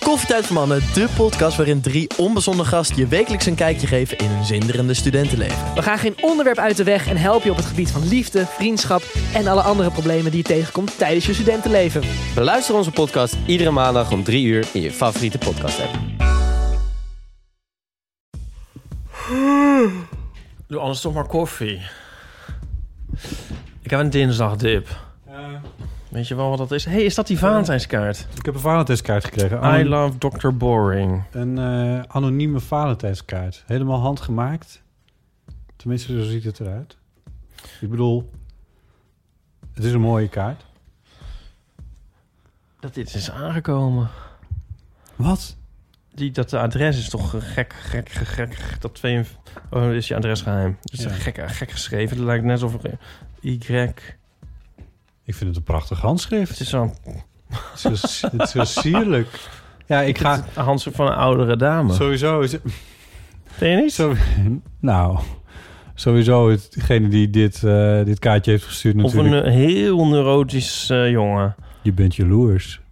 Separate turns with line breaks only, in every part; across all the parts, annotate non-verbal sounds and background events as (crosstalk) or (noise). Koffietijd voor Mannen, de podcast waarin drie onbezonnen gasten je wekelijks een kijkje geven in hun zinderende studentenleven.
We gaan geen onderwerp uit de weg en helpen je op het gebied van liefde, vriendschap en alle andere problemen die je tegenkomt tijdens je studentenleven.
Beluister onze podcast iedere maandag om 3 uur in je favoriete podcast app.
Doe anders toch maar koffie. Ik heb een dinsdagdip. Weet je wel wat dat is? Hé, hey, is dat die Valentijnskaart?
Ik heb een Valentijnskaart gekregen.
I
Anon-
love Dr. Boring.
Een eh, anonieme Valentijnskaart. Helemaal handgemaakt. Tenminste, zo ziet het eruit. Ik bedoel, het is een mooie kaart.
Dat dit is aangekomen.
Wat?
Die, dat de adres is toch eh, gek, gek, gek, gek. gek. Dat twee, oh, is je adres geheim. Dat is
Ja.
gek, eh, gek geschreven. Het lijkt net alsof er Y...
Ik vind het een prachtig
Het
handschrift.
is zo'n
Het
(laughs)
is zo, si- het is zo sierlijk. Ja, ik ga...
handse van een oudere dame.
Sowieso is het...
Vind je niet?
Zo, nou, sowieso het- degene die dit, eh, dit kaartje heeft gestuurd
of een
natuurlijk.
eh, heel neurotisch eh, jongen.
Je bent jaloers.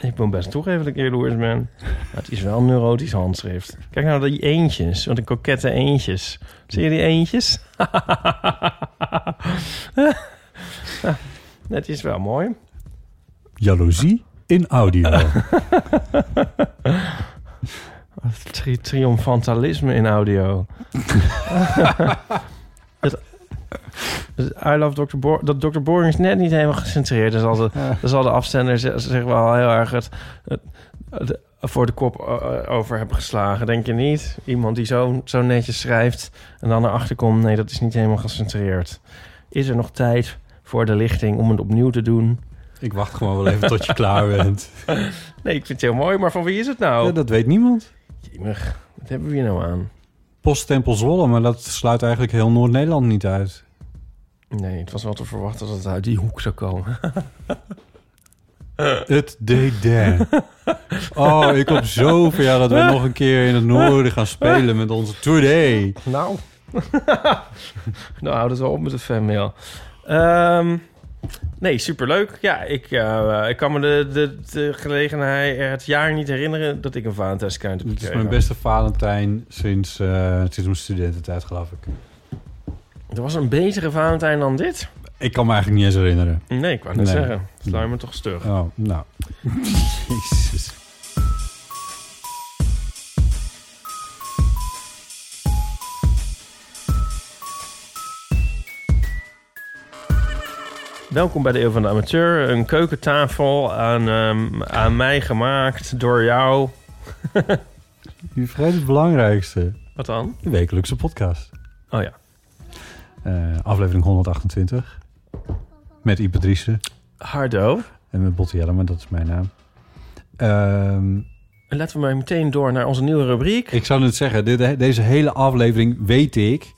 Ik moet best toegeven dat ik jaloers ben. Maar het is wel een neurotisch handschrift. Kijk nou naar die eentjes, want de kokette eentjes. Zie je die eentjes? (laughs) Ja, Het is wel mooi.
Jaloezie in
(laughs)
audio.
Tri triomfantalisme in
(laughs)
audio. Het- het I love Dr. Boring. Dat Dr. Boring is net niet helemaal gecentreerd. Dus al de, dus al de afzender ze- ze zich wel heel erg het, het- het voor de kop eh, over hebben geslagen. Denk je niet? Iemand die zo, zo netjes schrijft en dan erachter komt... nee, dat is niet helemaal gecentreerd. Is er nog tijd voor de lichting om het opnieuw te doen?
ik wacht gewoon wel even tot je klaar bent.
Nee, ik vind het heel mooi, maar van wie is het nou?
Ja, dat weet niemand.
Jemig, wat hebben we hier nou aan?
Poststempel Zwolle, maar dat sluit eigenlijk heel Noord-Nederland niet uit.
Nee, het was wel te verwachten dat het uit die hoek zou komen. (laughs)
Het DD. Oh, ik hoop zo voor jou dat we nog een keer in het noorden gaan spelen met onze tournee.
Nou. (laughs) nou, houd het wel op met het fanmail. Ehm, nee, superleuk. Ja, ik, eh, ik kan me de, de, de gelegenheid, het jaar niet herinneren dat ik een Valentijnskaart heb
Het is
gekregen.
mijn beste Valentijn sinds, eh, sinds mijn studententijd, geloof ik.
Er was een betere Valentijn dan dit?
Ik kan me eigenlijk niet eens herinneren.
Nee, ik wou net
Nee.
zeggen. Sluit me toch stug.
Oh, nou. Jezus.
Welkom bij de Eeuw van de Amateur. Een keukentafel aan, ehm, aan mij gemaakt door jou.
Je vergeet het belangrijkste.
Wat dan?
De wekelijkse podcast.
Oh ja.
Eh, aflevering 128. Met Ipe Driessen
Hardo.
en met Botti Jellema, dat is mijn naam. Ehm,
En Laten we maar meteen door naar onze nieuwe rubriek.
Ik zou het zeggen, dit- deze hele aflevering, weet ik,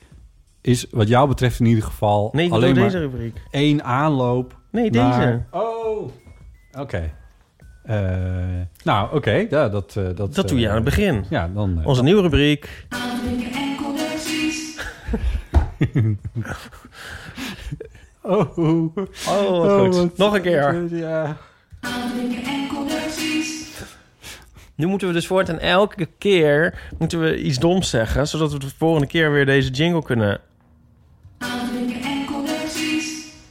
is wat jou betreft in ieder geval
Nee, ik bedoel
alleen maar
deze rubriek.
één aanloop.
Nee, deze.
naar- Oh, oké. Eh, nou, oké, ja, dat, eh, dat...
Dat doe je
eh,
aan het begin.
Ja, dan... eh,
Onze nieuwe rubriek.
Oh, oh, (laughs)
Oh, wat goed.
wat-
Nog een keer.
Ja.
Nu moeten we dus voort en elke keer moeten we iets doms zeggen, zodat we de volgende keer weer deze jingle kunnen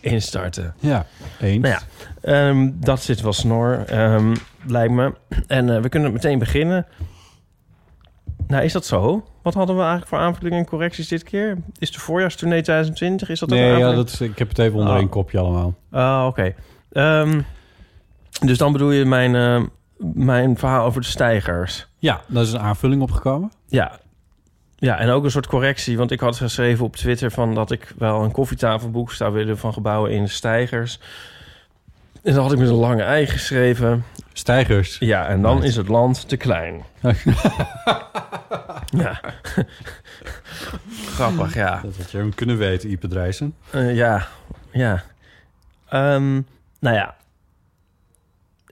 instarten.
Ja, eens.
Nou ja, ehm, dat zit wel snor, ehm, lijkt me. En eh, we kunnen meteen beginnen. Nou, is dat zo? Wat hadden we eigenlijk voor aanvullingen en correcties dit keer? Is de voorjaarstournee 2020? Is dat een
Nee, ja,
aanvulling?
dat is, ik heb het even onder
Oh.
één kopje allemaal.
Ah, oké. Ehm, dus dan bedoel je mijn, eh, mijn verhaal over de stijgers.
Ja, daar is een aanvulling opgekomen.
Ja. Ja, en ook een soort correctie. Want ik had geschreven op Twitter van dat ik wel een koffietafelboek zou willen van gebouwen in de stijgers. En dan had ik met een lange ei geschreven.
Stijgers. (laughs)
Ja, en dan is het land te klein. ja. (laughs) Grappig, ja.
Dat had je hem kunnen weten, Ipe Drijsen.
Eh, ja, ja. Ehm, nou ja.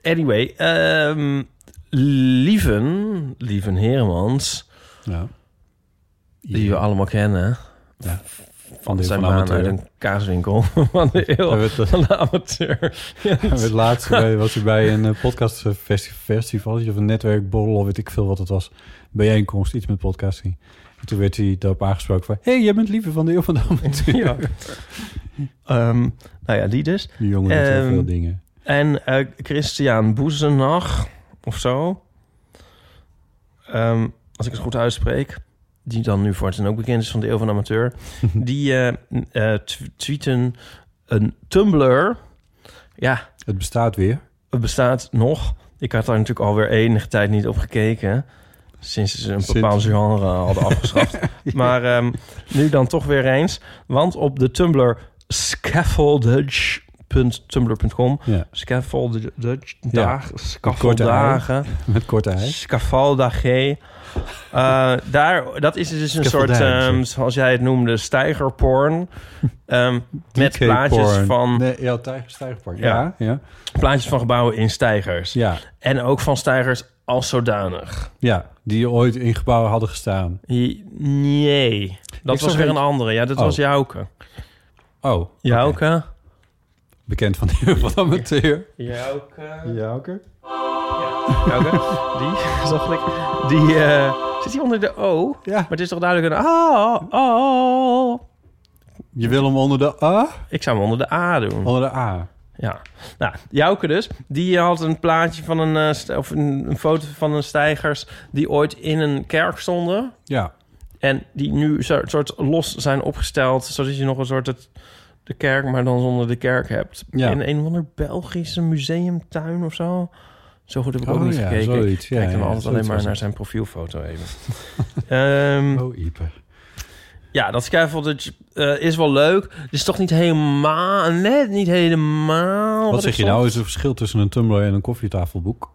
Anyway, ehm, Lieven, Lieven Hermans,
Ja.
die we allemaal kennen
van de
zijn
van
baan
amateur.
uit een kaaswinkel (laughs) van de
Hij
eeuw (laughs)
werd, eh,
van de amateur.
hij werd
(laughs)
laatst bij, was hij bij een eh, podcastfesti- festivaletje of een netwerkborrel of weet ik veel wat het was. Bijeenkomst, iets met podcasting. En toen werd hij daarop aangesproken van... hey, jij bent liever van de eeuw
(laughs)
van de amateur.
ja. Ehm, nou ja, die dus.
Die jongen doet heel
Ehm,
veel dingen.
En eh, Christian Boezenach of zo. Ehm, als ik het goed uitspreek. Die dan nu voor het en ook bekend is van de Eeuw van de Amateur. Die eh, n- eh, tw- tweeten een Tumblr. Ja,
Het bestaat weer.
het bestaat nog. Ik had daar natuurlijk alweer enige tijd niet op gekeken. Sinds ze een
Sinds-
bepaald genre hadden afgeschaft. Maar ehm, nu dan toch weer eens. Want op de Tumblr scaffoldage.tumblr.com
Ja,
Scaffoldage,
Ja,
dagen,
korte
scaffoldagen,
met korte ei.
scaffoldage. Eh, daar, dat is dus een soort,
Scaffoldage.
ehm, zoals jij het noemde, (laughs) stijgerporn. Ehm, met
DK
plaatjes
porn.
van,
Nee, ja, tijger, stijgerpark.
Ja.
Ja, ja.
plaatjes van gebouwen in stijgers.
ja.
En ook van stijgers als zodanig.
Ja, die ooit in gebouwen hadden gestaan.
I- Nee, dat
Ik
was
zag
weer
een-
een andere. Ja, dat
Oh.
was Jouke.
Oh,
Jouke?
bekend van de eeuw van de amateur.
Jouke.
Ja, oké.
Jouke. Die, (laughs) zag ik. Die, eh, zit die onder de O?
Ja,
Maar het is toch duidelijk een... Oh, oh.
je wil hem onder de A?
Ik zou hem onder de A doen.
Onder de A.
Ja. Nou, Jouke dus. Die had een plaatje van een... eh, st- of een, een foto van een stijgers... die ooit in een kerk stonden.
Ja,
En die nu zo- soort los zijn opgesteld... zodat je nog een soort... Het, de kerk, maar dan zonder de kerk hebt.
Ja.
In een of ander Belgische museumtuin of zo. Zo goed heb ik ook
Oh
niet
ja,
gekeken.
zoiets. Ja,
Kijk dan
ja,
altijd
zoiets
alleen maar
was
naar
het.
zijn profielfoto
(laughs)
even. Ehm,
oh, Ieper.
ja, dat scaffoldage eh is wel leuk. Het is toch niet helemaal... Net niet helemaal...
Wat
ik
zeg je
zocht.
nou? Is het verschil tussen een Tumblr en een koffietafelboek?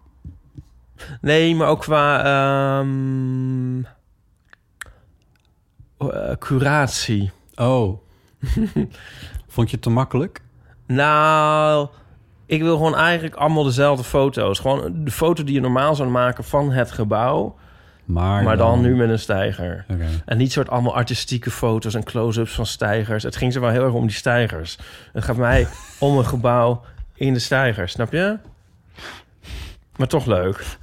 Nee, maar ook qua... ehm, eh, curatie.
Oh. (laughs) Vond je het te makkelijk?
Nou, ik wil gewoon eigenlijk allemaal dezelfde foto's. Gewoon de foto die je normaal zou maken van het gebouw.
Maar,
Maar dan nu met een stijger.
Oké.
En niet soort allemaal artistieke foto's en close-ups van stijgers. Het ging ze wel heel erg om die stijgers. Het gaat mij om een gebouw in de stijgers, snap je? Maar toch leuk.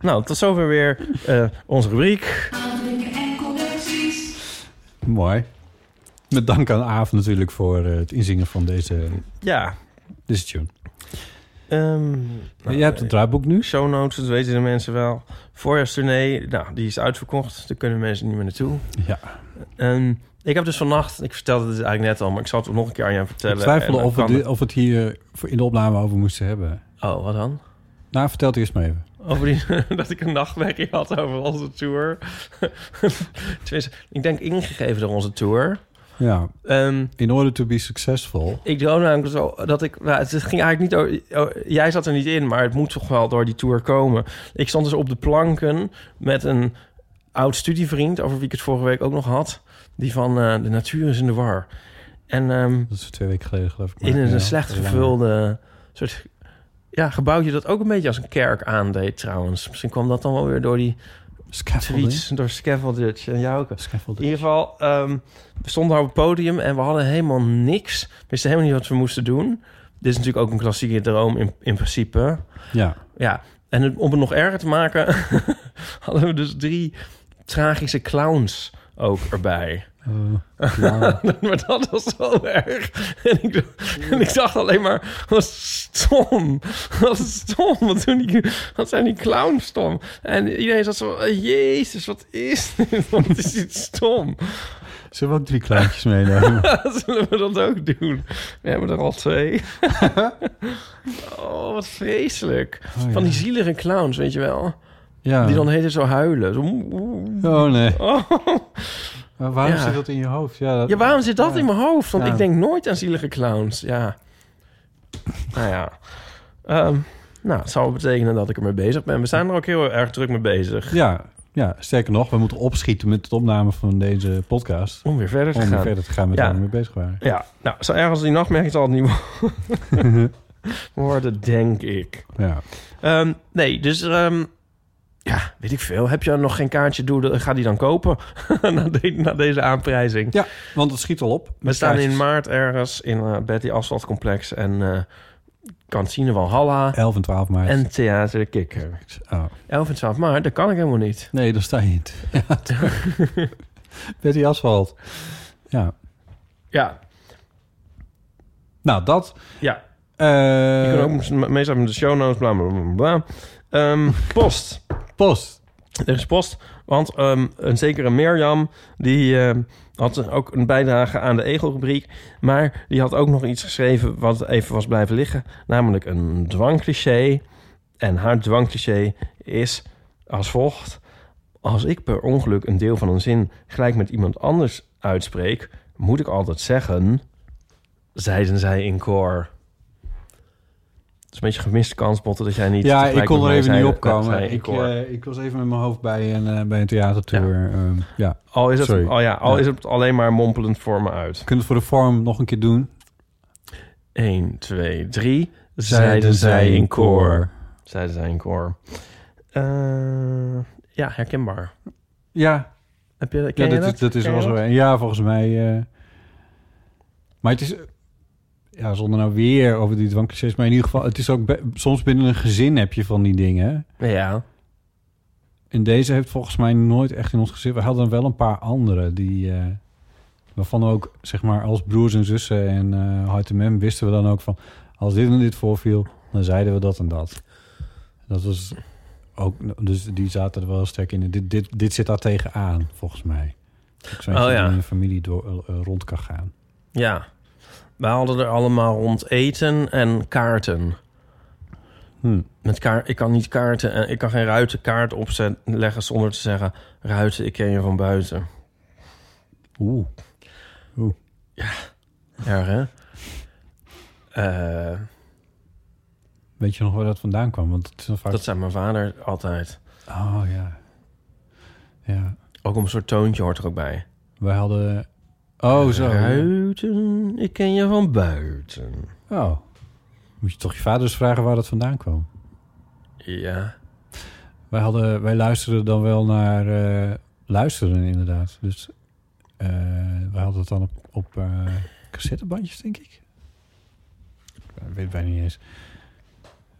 nou, tot zover weer eh, onze rubriek.
Mooi. Met dank aan Aaf natuurlijk voor eh, het inzingen van deze,
Ja.
deze tune.
ehm, nou,
Jij hebt het draaiboek nu?
Show notes, dat weten de mensen wel. Voorjaarstournee, nou, die is uitverkocht. Daar kunnen mensen niet meer naartoe.
Ja.
En ik heb dus vannacht, ik vertelde dit eigenlijk net al, maar ik zal het nog een keer aan jou vertellen.
Ik twijfelde
En dan
of we,
kan
di- of we het hier voor in de opname over moesten hebben.
Oh, wat dan?
Nou, vertel het eerst maar even.
Over die, (laughs) dat ik een nachtmerrie had over onze tour. (laughs) Tenminste, ik denk ingegeven door onze tour.
Ja.
Ehm,
In order to be successful.
ik droomde namelijk zo dat ik... Nou, het ging eigenlijk niet over... oh, jij zat er niet in, maar het moet toch wel door die tour komen. Ik stond dus op de planken met een oud studievriend... over wie ik het vorige week ook nog had. Die van eh, De Natuur is in de War. En ehm,
Dat is twee weken geleden, geloof ik.
in een
Ja,
slecht
langer.
gevulde soort ja, gebouwje... dat ook een beetje als een kerk aandeed trouwens. Misschien kwam dat dan wel weer door die
Scaffolding.
tweets door Scaffoldage en jou ook. In
Scaffolding.
ieder geval, ehm, we stonden daar op het podium en we hadden helemaal niks. We wisten helemaal niet wat we moesten doen. Dit is natuurlijk ook een klassieke droom in, in principe.
Ja.
Ja, en het- om het nog erger te maken... (laughs) hadden we dus drie tragische clowns ook erbij. (laughs)
Eh, ja.
Maar dat was zo erg. En ik, en ik dacht alleen maar, wat stom. Wat stom. Wat, doen die, wat zijn die clowns stom. En iedereen zat zo, eh, jezus, wat is dit? (laughs) Wat is dit stom?
Zullen we ook drie kleintjes meenemen?
Zullen we (laughs) dat ook doen? We hebben er al
(laughs)
twee. Oh, wat vreselijk.
Oh, ja.
Van die zielige clowns, weet je wel.
Ja.
Die dan heten zo huilen. Zo, oeh, oeh.
Oh nee.
Oh.
Maar waarom
Ja.
zit dat in je hoofd? Ja, dat...
Ja, waarom zit dat in mijn hoofd? Want
Ja.
ik denk nooit aan zielige clowns. Ja. nou ja. Ehm, nou, het zou betekenen dat ik ermee bezig ben. We zijn er ook heel erg druk mee bezig.
Ja, ja, sterker nog, we moeten opschieten met het opname van deze podcast.
Om weer verder te
Om weer
gaan.
verder te gaan met
Ja.
waar we mee bezig waren.
Ja, nou, zo ergens die nacht merk ik het al niet (laughs) worden, denk ik.
Ja.
Ehm, nee, dus ehm, ja, weet ik veel. Heb je nog geen kaartje, doe, dat- ga die dan kopen (laughs) na, de- na deze aanprijzing.
ja, want het schiet al op.
We staan in maart ergens in eh Betty Asphalt Complex en eh Kantine Walhalla
11 en 12 maart.
en Theater de Kikker.
Oh.
11 en 12 maart, dat kan ik helemaal niet.
Nee, dan sta je in
(laughs)
het theater. Met die asfalt. Ja.
Ja,
Nou, dat.
ja.
eh,
Je kunt ook me- meestal met de show notes, bla bla bla. bla.
(laughs)
Ehm, post.
post.
Er is post, want ehm, een zekere Mirjam... die ehm, had ook een bijdrage aan de Egel-rubriek... maar die had ook nog iets geschreven wat even was blijven liggen. Namelijk een dwangcliché. En haar dwangcliché is als volgt. Als ik per ongeluk een deel van een zin gelijk met iemand anders uitspreek... moet ik altijd zeggen... zeiden zij in koor. Het is een beetje een gemiste kans, Botte, dat jij niet...
Ja,
tegelijk
ik kon
met
er
mij
even
zeide-
niet opkomen.
zei in
Ik,
koor.
eh, ik was even met mijn hoofd bij een, eh, bij een theatertour. Ja. ja.
Al is het,
Sorry.
al ja, al
Ja.
is het alleen maar mompelend voor me uit.
Kunnen we het voor de vorm nog een keer doen?
1, 2, 3. Zeiden zij in koor. Zeiden zij in koor. Eh, ja, herkenbaar.
Ja,
Heb je, ken
Ja,
je
dat, is- dat is
Ken je
wel zo.
dat?
een. Ja, volgens mij. eh, maar het is. eh, Ja, zonder nou weer over die dwangclichés. Maar in ieder geval, het is ook. be- soms binnen een gezin heb je van die dingen.
Ja.
En deze heeft volgens mij nooit echt in ons gezin. We hadden wel een paar andere die. eh, waarvan we ook, zeg maar, als broers en zussen en eh hart en mem wisten we dan ook van. Als dit en dit voorviel, dan zeiden we dat en dat. Dat was ook. Dus die zaten er wel sterk in. Dit, dit, dit zit daar tegenaan, volgens mij. Ook zo'n
Oh
eentje
ja.
die in een familie door, eh, eh, rond kan gaan.
ja. We hadden er allemaal rond eten en kaarten.
Hm.
Met kaart, ik kan niet kaarten en ik kan geen ruitenkaart opzetten leggen zonder te zeggen: Ruiten, ik ken je van buiten.
Oeh.
Erg, hè? Eh,
Weet je nog waar dat vandaan kwam? Want het is dan vaak.
dat zei mijn vader altijd.
Oh ja. Ja.
Ook een soort toontje hoort er ook bij.
Wij hadden.
Eh,
Oh, zo.
Buiten, ik ken je van buiten.
Oh. Moet je toch je vader eens vragen waar dat vandaan kwam?
Ja.
Wij, hadden, wij luisterden dan wel naar eh, luisteren, inderdaad. Dus eh, wij hadden het dan op, op eh, cassettebandjes, denk ik. Ik weet het bijna niet eens.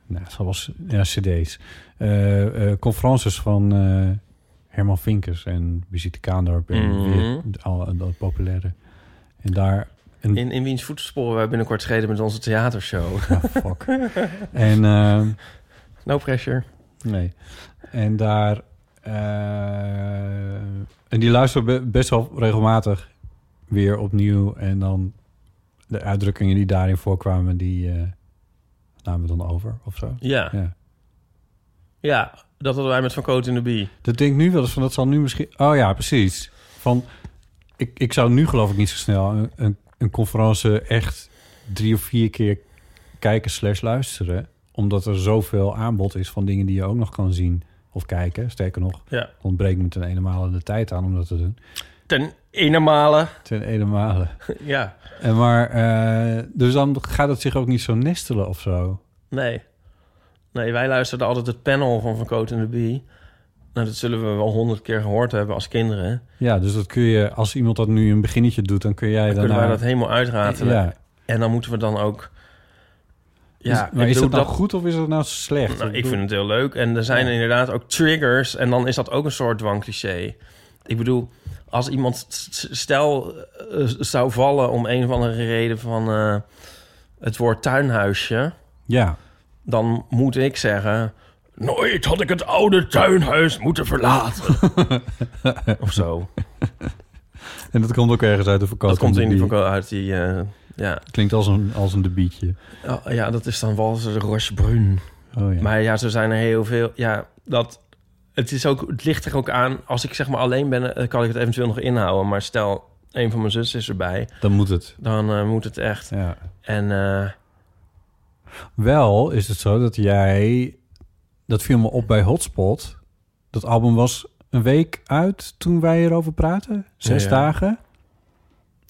Nou, het zal wel c- ja, cd's. Eh, eh, conferences van eh, Herman Vinkers en Visite Kaandorp. En
Mhm.
weer al, dat populaire. En daar... En,
In, in wiens voetsporen wij binnenkort treden met onze theatershow. (laughs)
Ah, fuck. en... ehm,
No pressure.
Nee. En daar. eh, en die luisteren be- best wel regelmatig weer opnieuw. En dan de uitdrukkingen die daarin voorkwamen, die eh, namen we dan over of zo.
Ja.
Ja.
Ja, dat hadden wij met Van Coot in de Bie.
Dat denk ik nu wel eens van dat zal nu misschien. Oh ja, precies. Van ik, ik zou nu geloof ik niet zo snel een, een, een conferentie echt drie of vier keer kijken slash luisteren. Omdat er zoveel aanbod is van dingen die je ook nog kan zien of kijken. Sterker nog,
Ja.
ontbreekt me ten ene male de tijd aan om dat te doen.
Ten ene
(laughs)
malen.
Ten ene male.
Ja.
En maar, eh, dus dan gaat het zich ook niet zo nestelen of zo.
Nee. Nee, wij luisterden altijd het panel van Van Coot in de Bie. Nou, dat zullen we wel honderd keer gehoord hebben als kinderen.
Ja, dus dat kun je, als iemand dat nu een beginnetje doet, dan kun
Dan
jij daarna...
kunnen wij dat helemaal uitratelen.
ja.
En dan moeten we dan ook... Ja,
Is- maar
ik
is
bedoel,
dat nou goed of is dat nou slecht?
Nou, ik
bedoel-
vind het heel leuk. En er zijn inderdaad ook triggers. En dan is dat ook een soort dwangcliché. Ik bedoel, als iemand s- s- stel eh, zou vallen om een of andere reden van eh, het woord tuinhuisje,
Ja,
dan moet ik zeggen: Nooit had ik het oude tuinhuis moeten
(laughs)
verlaten. of zo.
en dat komt ook ergens uit de
Dat
vakantie.
komt in ieder
Die-
geval uit die. eh, ja.
Klinkt als een, als een debietje.
Oh, ja, dat is dan Walser de Rochebrun.
Oh ja.
Maar ja, zo zijn er heel veel. Ja, dat. Het, is ook, het ligt er ook aan. Als ik zeg maar alleen ben, eh, kan ik het eventueel nog inhouden. Maar stel, een van mijn zussen is erbij.
Dan moet het.
Dan eh, moet het echt.
Ja.
En eh,
Wel is het zo dat jij... Dat viel me op bij Hotspot. Dat album was een week uit toen wij erover praten. Zes
Ja.
dagen.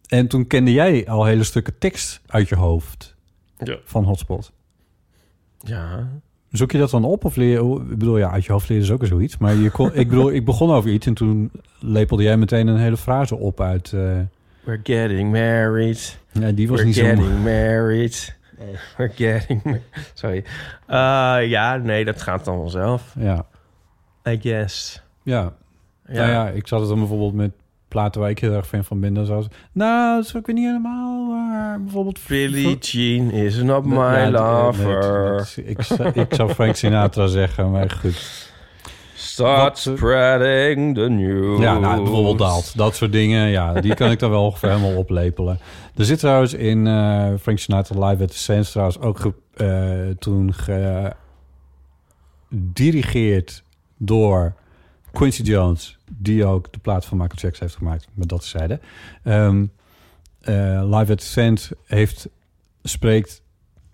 En toen kende jij al hele stukken tekst uit je hoofd
Ja.
van Hotspot.
Ja.
Zoek je dat dan op of leer je... hoe- Ik bedoel, ja, uit je hoofd leren is ook zoiets. Maar je kon, ik bedoel, ik begon over iets en toen lepelde jij meteen een hele frase op uit... eh,
We're getting married.
ja, die was
We're
niet zo...
getting
mooi.
married. We're getting mar- Sorry. Eh, ja, nee, dat gaat dan vanzelf.
(laughs) Ja,
I guess.
ja.
Ja.
Nou ja, ik zat het dan bijvoorbeeld met platen waar ik heel erg fan van ben. Dan zou ze- nou, dat is ook weer niet helemaal waar. Bijvoorbeeld...
Billie Jean is not my
Ja, dat-
lover.
dat- dat- ik, zou- ik zou Frank Sinatra zeggen, maar goed.
Start
Wat, eh,
spreading the news.
Ja, nou, bijvoorbeeld dat. Dat soort dingen, ja, die kan ik dan wel (laughs) ongeveer helemaal oplepelen. Er zit trouwens in eh, Frank Sinatra Live at the Sands trouwens ook ge- eh, toen gedirigeerd door Quincy Jones, die ook de plaat van Michael Jackson heeft gemaakt. Maar dat zeiden. Ehm eh, Live at the Sands heeft, spreekt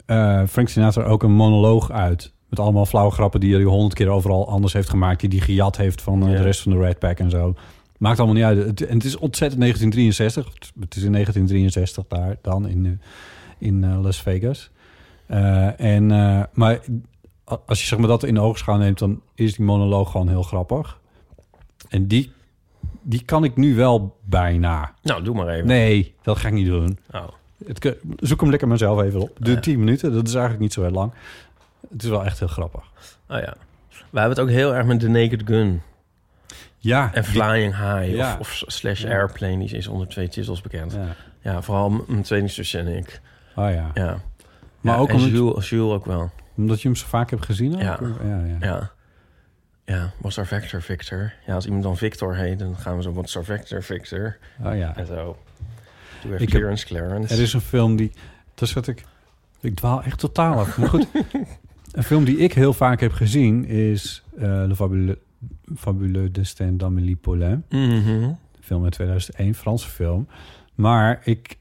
eh, Frank Sinatra ook een monoloog uit. Met allemaal flauwe grappen die hij honderd keer overal anders heeft gemaakt. Die hij gejat heeft van eh,
Ja.
de rest van de Red Pack en zo. Maakt allemaal niet uit. Het, en het is ontzettend 1963. Het is in 1963 daar dan in, eh, in eh, Las Vegas. Eh, en, eh, maar a- als je zeg maar, dat in oogschouw neemt... dan is die monoloog gewoon heel grappig. En die, die kan ik nu wel bijna.
Nou, doe maar even.
Nee, dat ga ik niet doen.
Oh.
Het, ke- zoek hem lekker maar zelf even op. De 10 minuten, dat is eigenlijk niet zo heel lang. Het is wel echt heel grappig.
oh ja. We hebben het ook heel erg met The Naked Gun.
Ja.
En Flying High.
Ja.
Of, of slash Airplane. Die is onder twee titels bekend. Ja,
Ja.
vooral m- mijn tweelingzusje en ik.
Oh ja.
Ja.
Maar
Ja,
ook
en
omdat,
Jules, Jules ook wel.
omdat je hem zo vaak hebt gezien. ook?
Ja.
Ja, ja.
Ja. Ja, what's our vector, Victor? Ja, als iemand dan Victor heet, dan gaan we zo what's our vector, Victor?
Oh, ja.
En zo. Doe even
Ik heb-
clearance, clearance.
Er is een film die... Daar zat ik... Ik dwaal echt totaal af. Maar goed. een film die ik heel vaak heb gezien is... eh Le Fabuleux, Fabuleux Destin d'Amélie Poulain.
Mhm.
film uit 2001, Franse film. Maar ik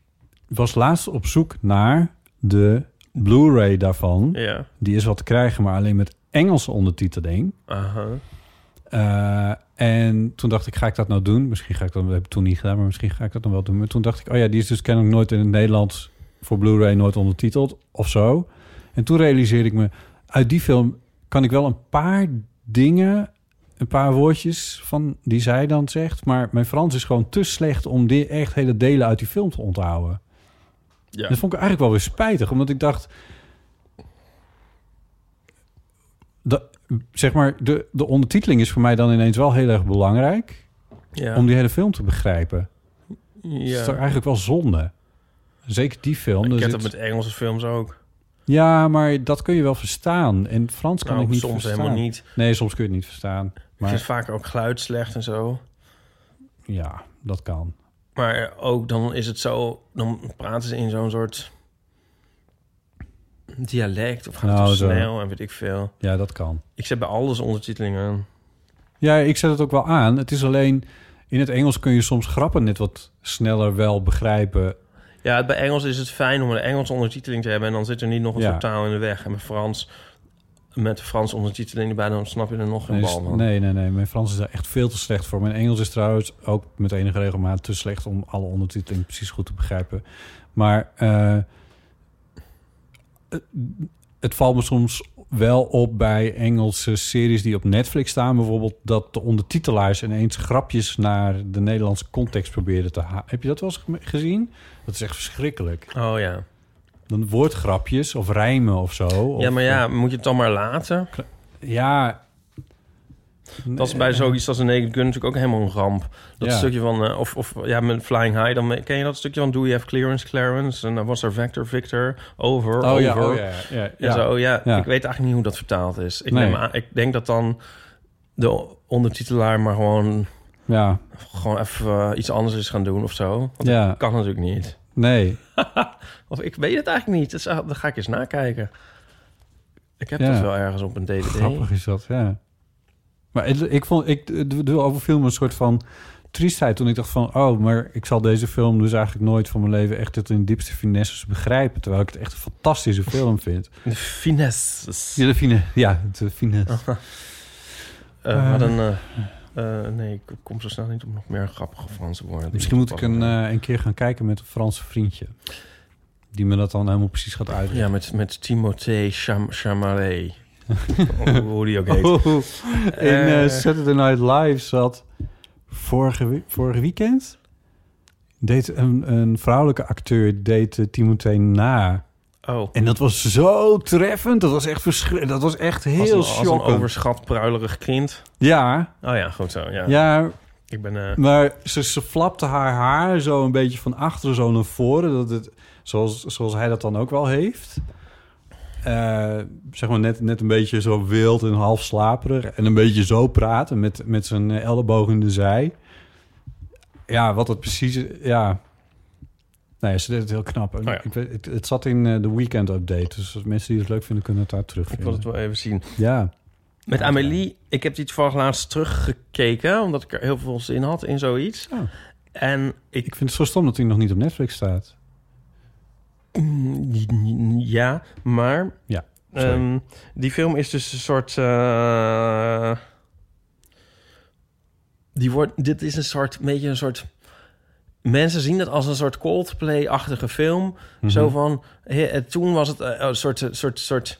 was laatst op zoek naar de Blu-ray daarvan.
Ja.
Die is wat te krijgen, maar alleen met Engelse ondertiteling.
Aha.
Eh, en toen dacht ik, ga ik dat nou doen? Misschien ga ik dat, dat heb ik toen niet gedaan, maar misschien ga ik dat dan wel doen. Maar toen dacht ik, oh ja, die is dus kennelijk nooit in het Nederlands voor Blu-ray nooit ondertiteld of zo. En toen realiseerde ik me, uit die film kan ik wel een paar dingen, een paar woordjes van die zij dan zegt. Maar mijn Frans is gewoon te slecht om die echt hele delen uit die film te onthouden.
Ja.
Dat vond ik eigenlijk wel weer spijtig, omdat ik dacht, dat, zeg maar, de, de ondertiteling is voor mij dan ineens wel heel erg belangrijk
Ja.
om die hele film te begrijpen. Dat is
ja.
toch eigenlijk wel zonde. Zeker die film.
Ik
daar
heb
zit-
dat met Engelse films ook.
Ja, maar dat kun je wel verstaan. En Frans kan
Nou,
ik niet
soms
verstaan.
helemaal niet.
Nee, soms kun je het niet verstaan.
Maar... Het is
Maar
vaak ook geluid slecht en zo.
ja, dat kan.
Maar ook dan is het zo... Dan praten ze in zo'n soort dialect. Of gaat het
Nou,
zo
zo.
snel en weet ik veel.
Ja, dat kan.
Ik zet bij alles ondertitelingen aan.
Ja, ik zet het ook wel aan. Het is alleen... In het Engels kun je soms grappen net wat sneller wel begrijpen.
Ja, bij Engels is het fijn om een Engelse ondertiteling te hebben... en dan zit er niet nog een
Ja.
soort taal in de weg. En met Frans... Met de Frans ondertiteling erbij, dan snap je er nog geen
Nee,
bal van.
nee, nee, nee. Mijn Frans is daar echt veel te slecht voor. Mijn Engels is trouwens ook met enige regelmaat te slecht... om alle ondertiteling precies goed te begrijpen. Maar eh, het- het valt me soms wel op bij Engelse series die op Netflix staan... bijvoorbeeld dat de ondertitelaars ineens grapjes... naar de Nederlandse context probeerden te halen. Heb je dat wel eens geme- gezien? Dat is echt verschrikkelijk.
Oh ja.
Dan woordgrapjes of rijmen of zo.
ja,
Of- eh,
maar ja, moet je het dan maar laten?
Ja.
Dat is bij zoiets als een Naked Gun natuurlijk ook helemaal een ramp. Dat
Eh, Ja.
stukje van, eh, of, of ja, met Flying High, dan ken je dat stukje van... Do you have clearance, clearance? En dan was er Vector, Victor, over,
Oh
over.
ja, oh ja, ja,
En
ja.
zo, ja,
Ja.
ik weet eigenlijk niet hoe dat vertaald is. Ik,
Nee.
neem aan, ik denk dat dan de ondertitelaar maar gewoon,
Ja,
gewoon even eh, iets anders is gaan doen of zo. Want
ja.
dat kan natuurlijk niet.
Nee.
Of ik weet het eigenlijk niet. Dus, ah, dan ga ik eens nakijken. Ik heb
Ja.
dat wel ergens op een DVD.
Grappig is dat, ja. Maar het- ik vond, ik d- d- doe over film een soort van triestheid toen ik dacht van... oh, maar ik zal deze film dus eigenlijk nooit van mijn leven... echt tot in de diepste finesses begrijpen. Terwijl ik het echt een fantastische film
(laughs)
vind.
De finesses.
Ja, de fine, ja, de fine.
Eh, wat een... eh, eh, nee, ik kom zo snel niet op nog meer grappige Franse woorden.
Misschien moet ik een, eh, een keer gaan kijken met een Franse vriendje. Die me dat dan helemaal precies gaat uitleggen.
Ja, met, met Timothée Cham
(laughs)
Chamalet. Hoe- Hoe die ook heet.
Oh, (laughs) in eh,
Eh.
Saturday Night Live zat vorige, we- vorige weekend... Deed een, een vrouwelijke acteur deed eh, Timothée na.
Oh.
En dat was zo treffend. Dat was echt verschrikkelijk. Dat was echt
Als
heel
een, als een
shockend.
overschat pruilerig kind.
Ja,
Oh ja, goed zo. Ja.
ja,
Ik ben... eh,
maar ze, ze flapte haar haar zo een beetje van achteren zo naar voren. Dat het, zoals, zoals hij dat dan ook wel heeft. Eh, zeg maar net, net een beetje zo wild en half slaperig. En een beetje zo praten met, met zijn eh, elleboog in de zij. Ja, wat het precies... is, Ja. Nee, ze deed het heel knap. En
Oh ja.
ik weet, het, het zat in eh, de weekend update. Dus als mensen die het leuk vinden, kunnen het daar
ik
terugvinden.
wil het wel even zien.
Ja.
Met Amélie, ik heb die toevallig laatst teruggekeken... omdat ik er heel veel zin had in zoiets.
Oh.
En ik
Ik vind het zo stom dat hij nog niet op Netflix staat.
Mm, Ja, maar.
Ja, sorry.
ehm, die film is dus een soort. eh, die wordt, dit is een soort. Een beetje een soort. Mensen zien dat als een soort Coldplay-achtige film.
Mhm.
Zo van. hè, eh, toen was het eh, een soort, eh, soort, soort.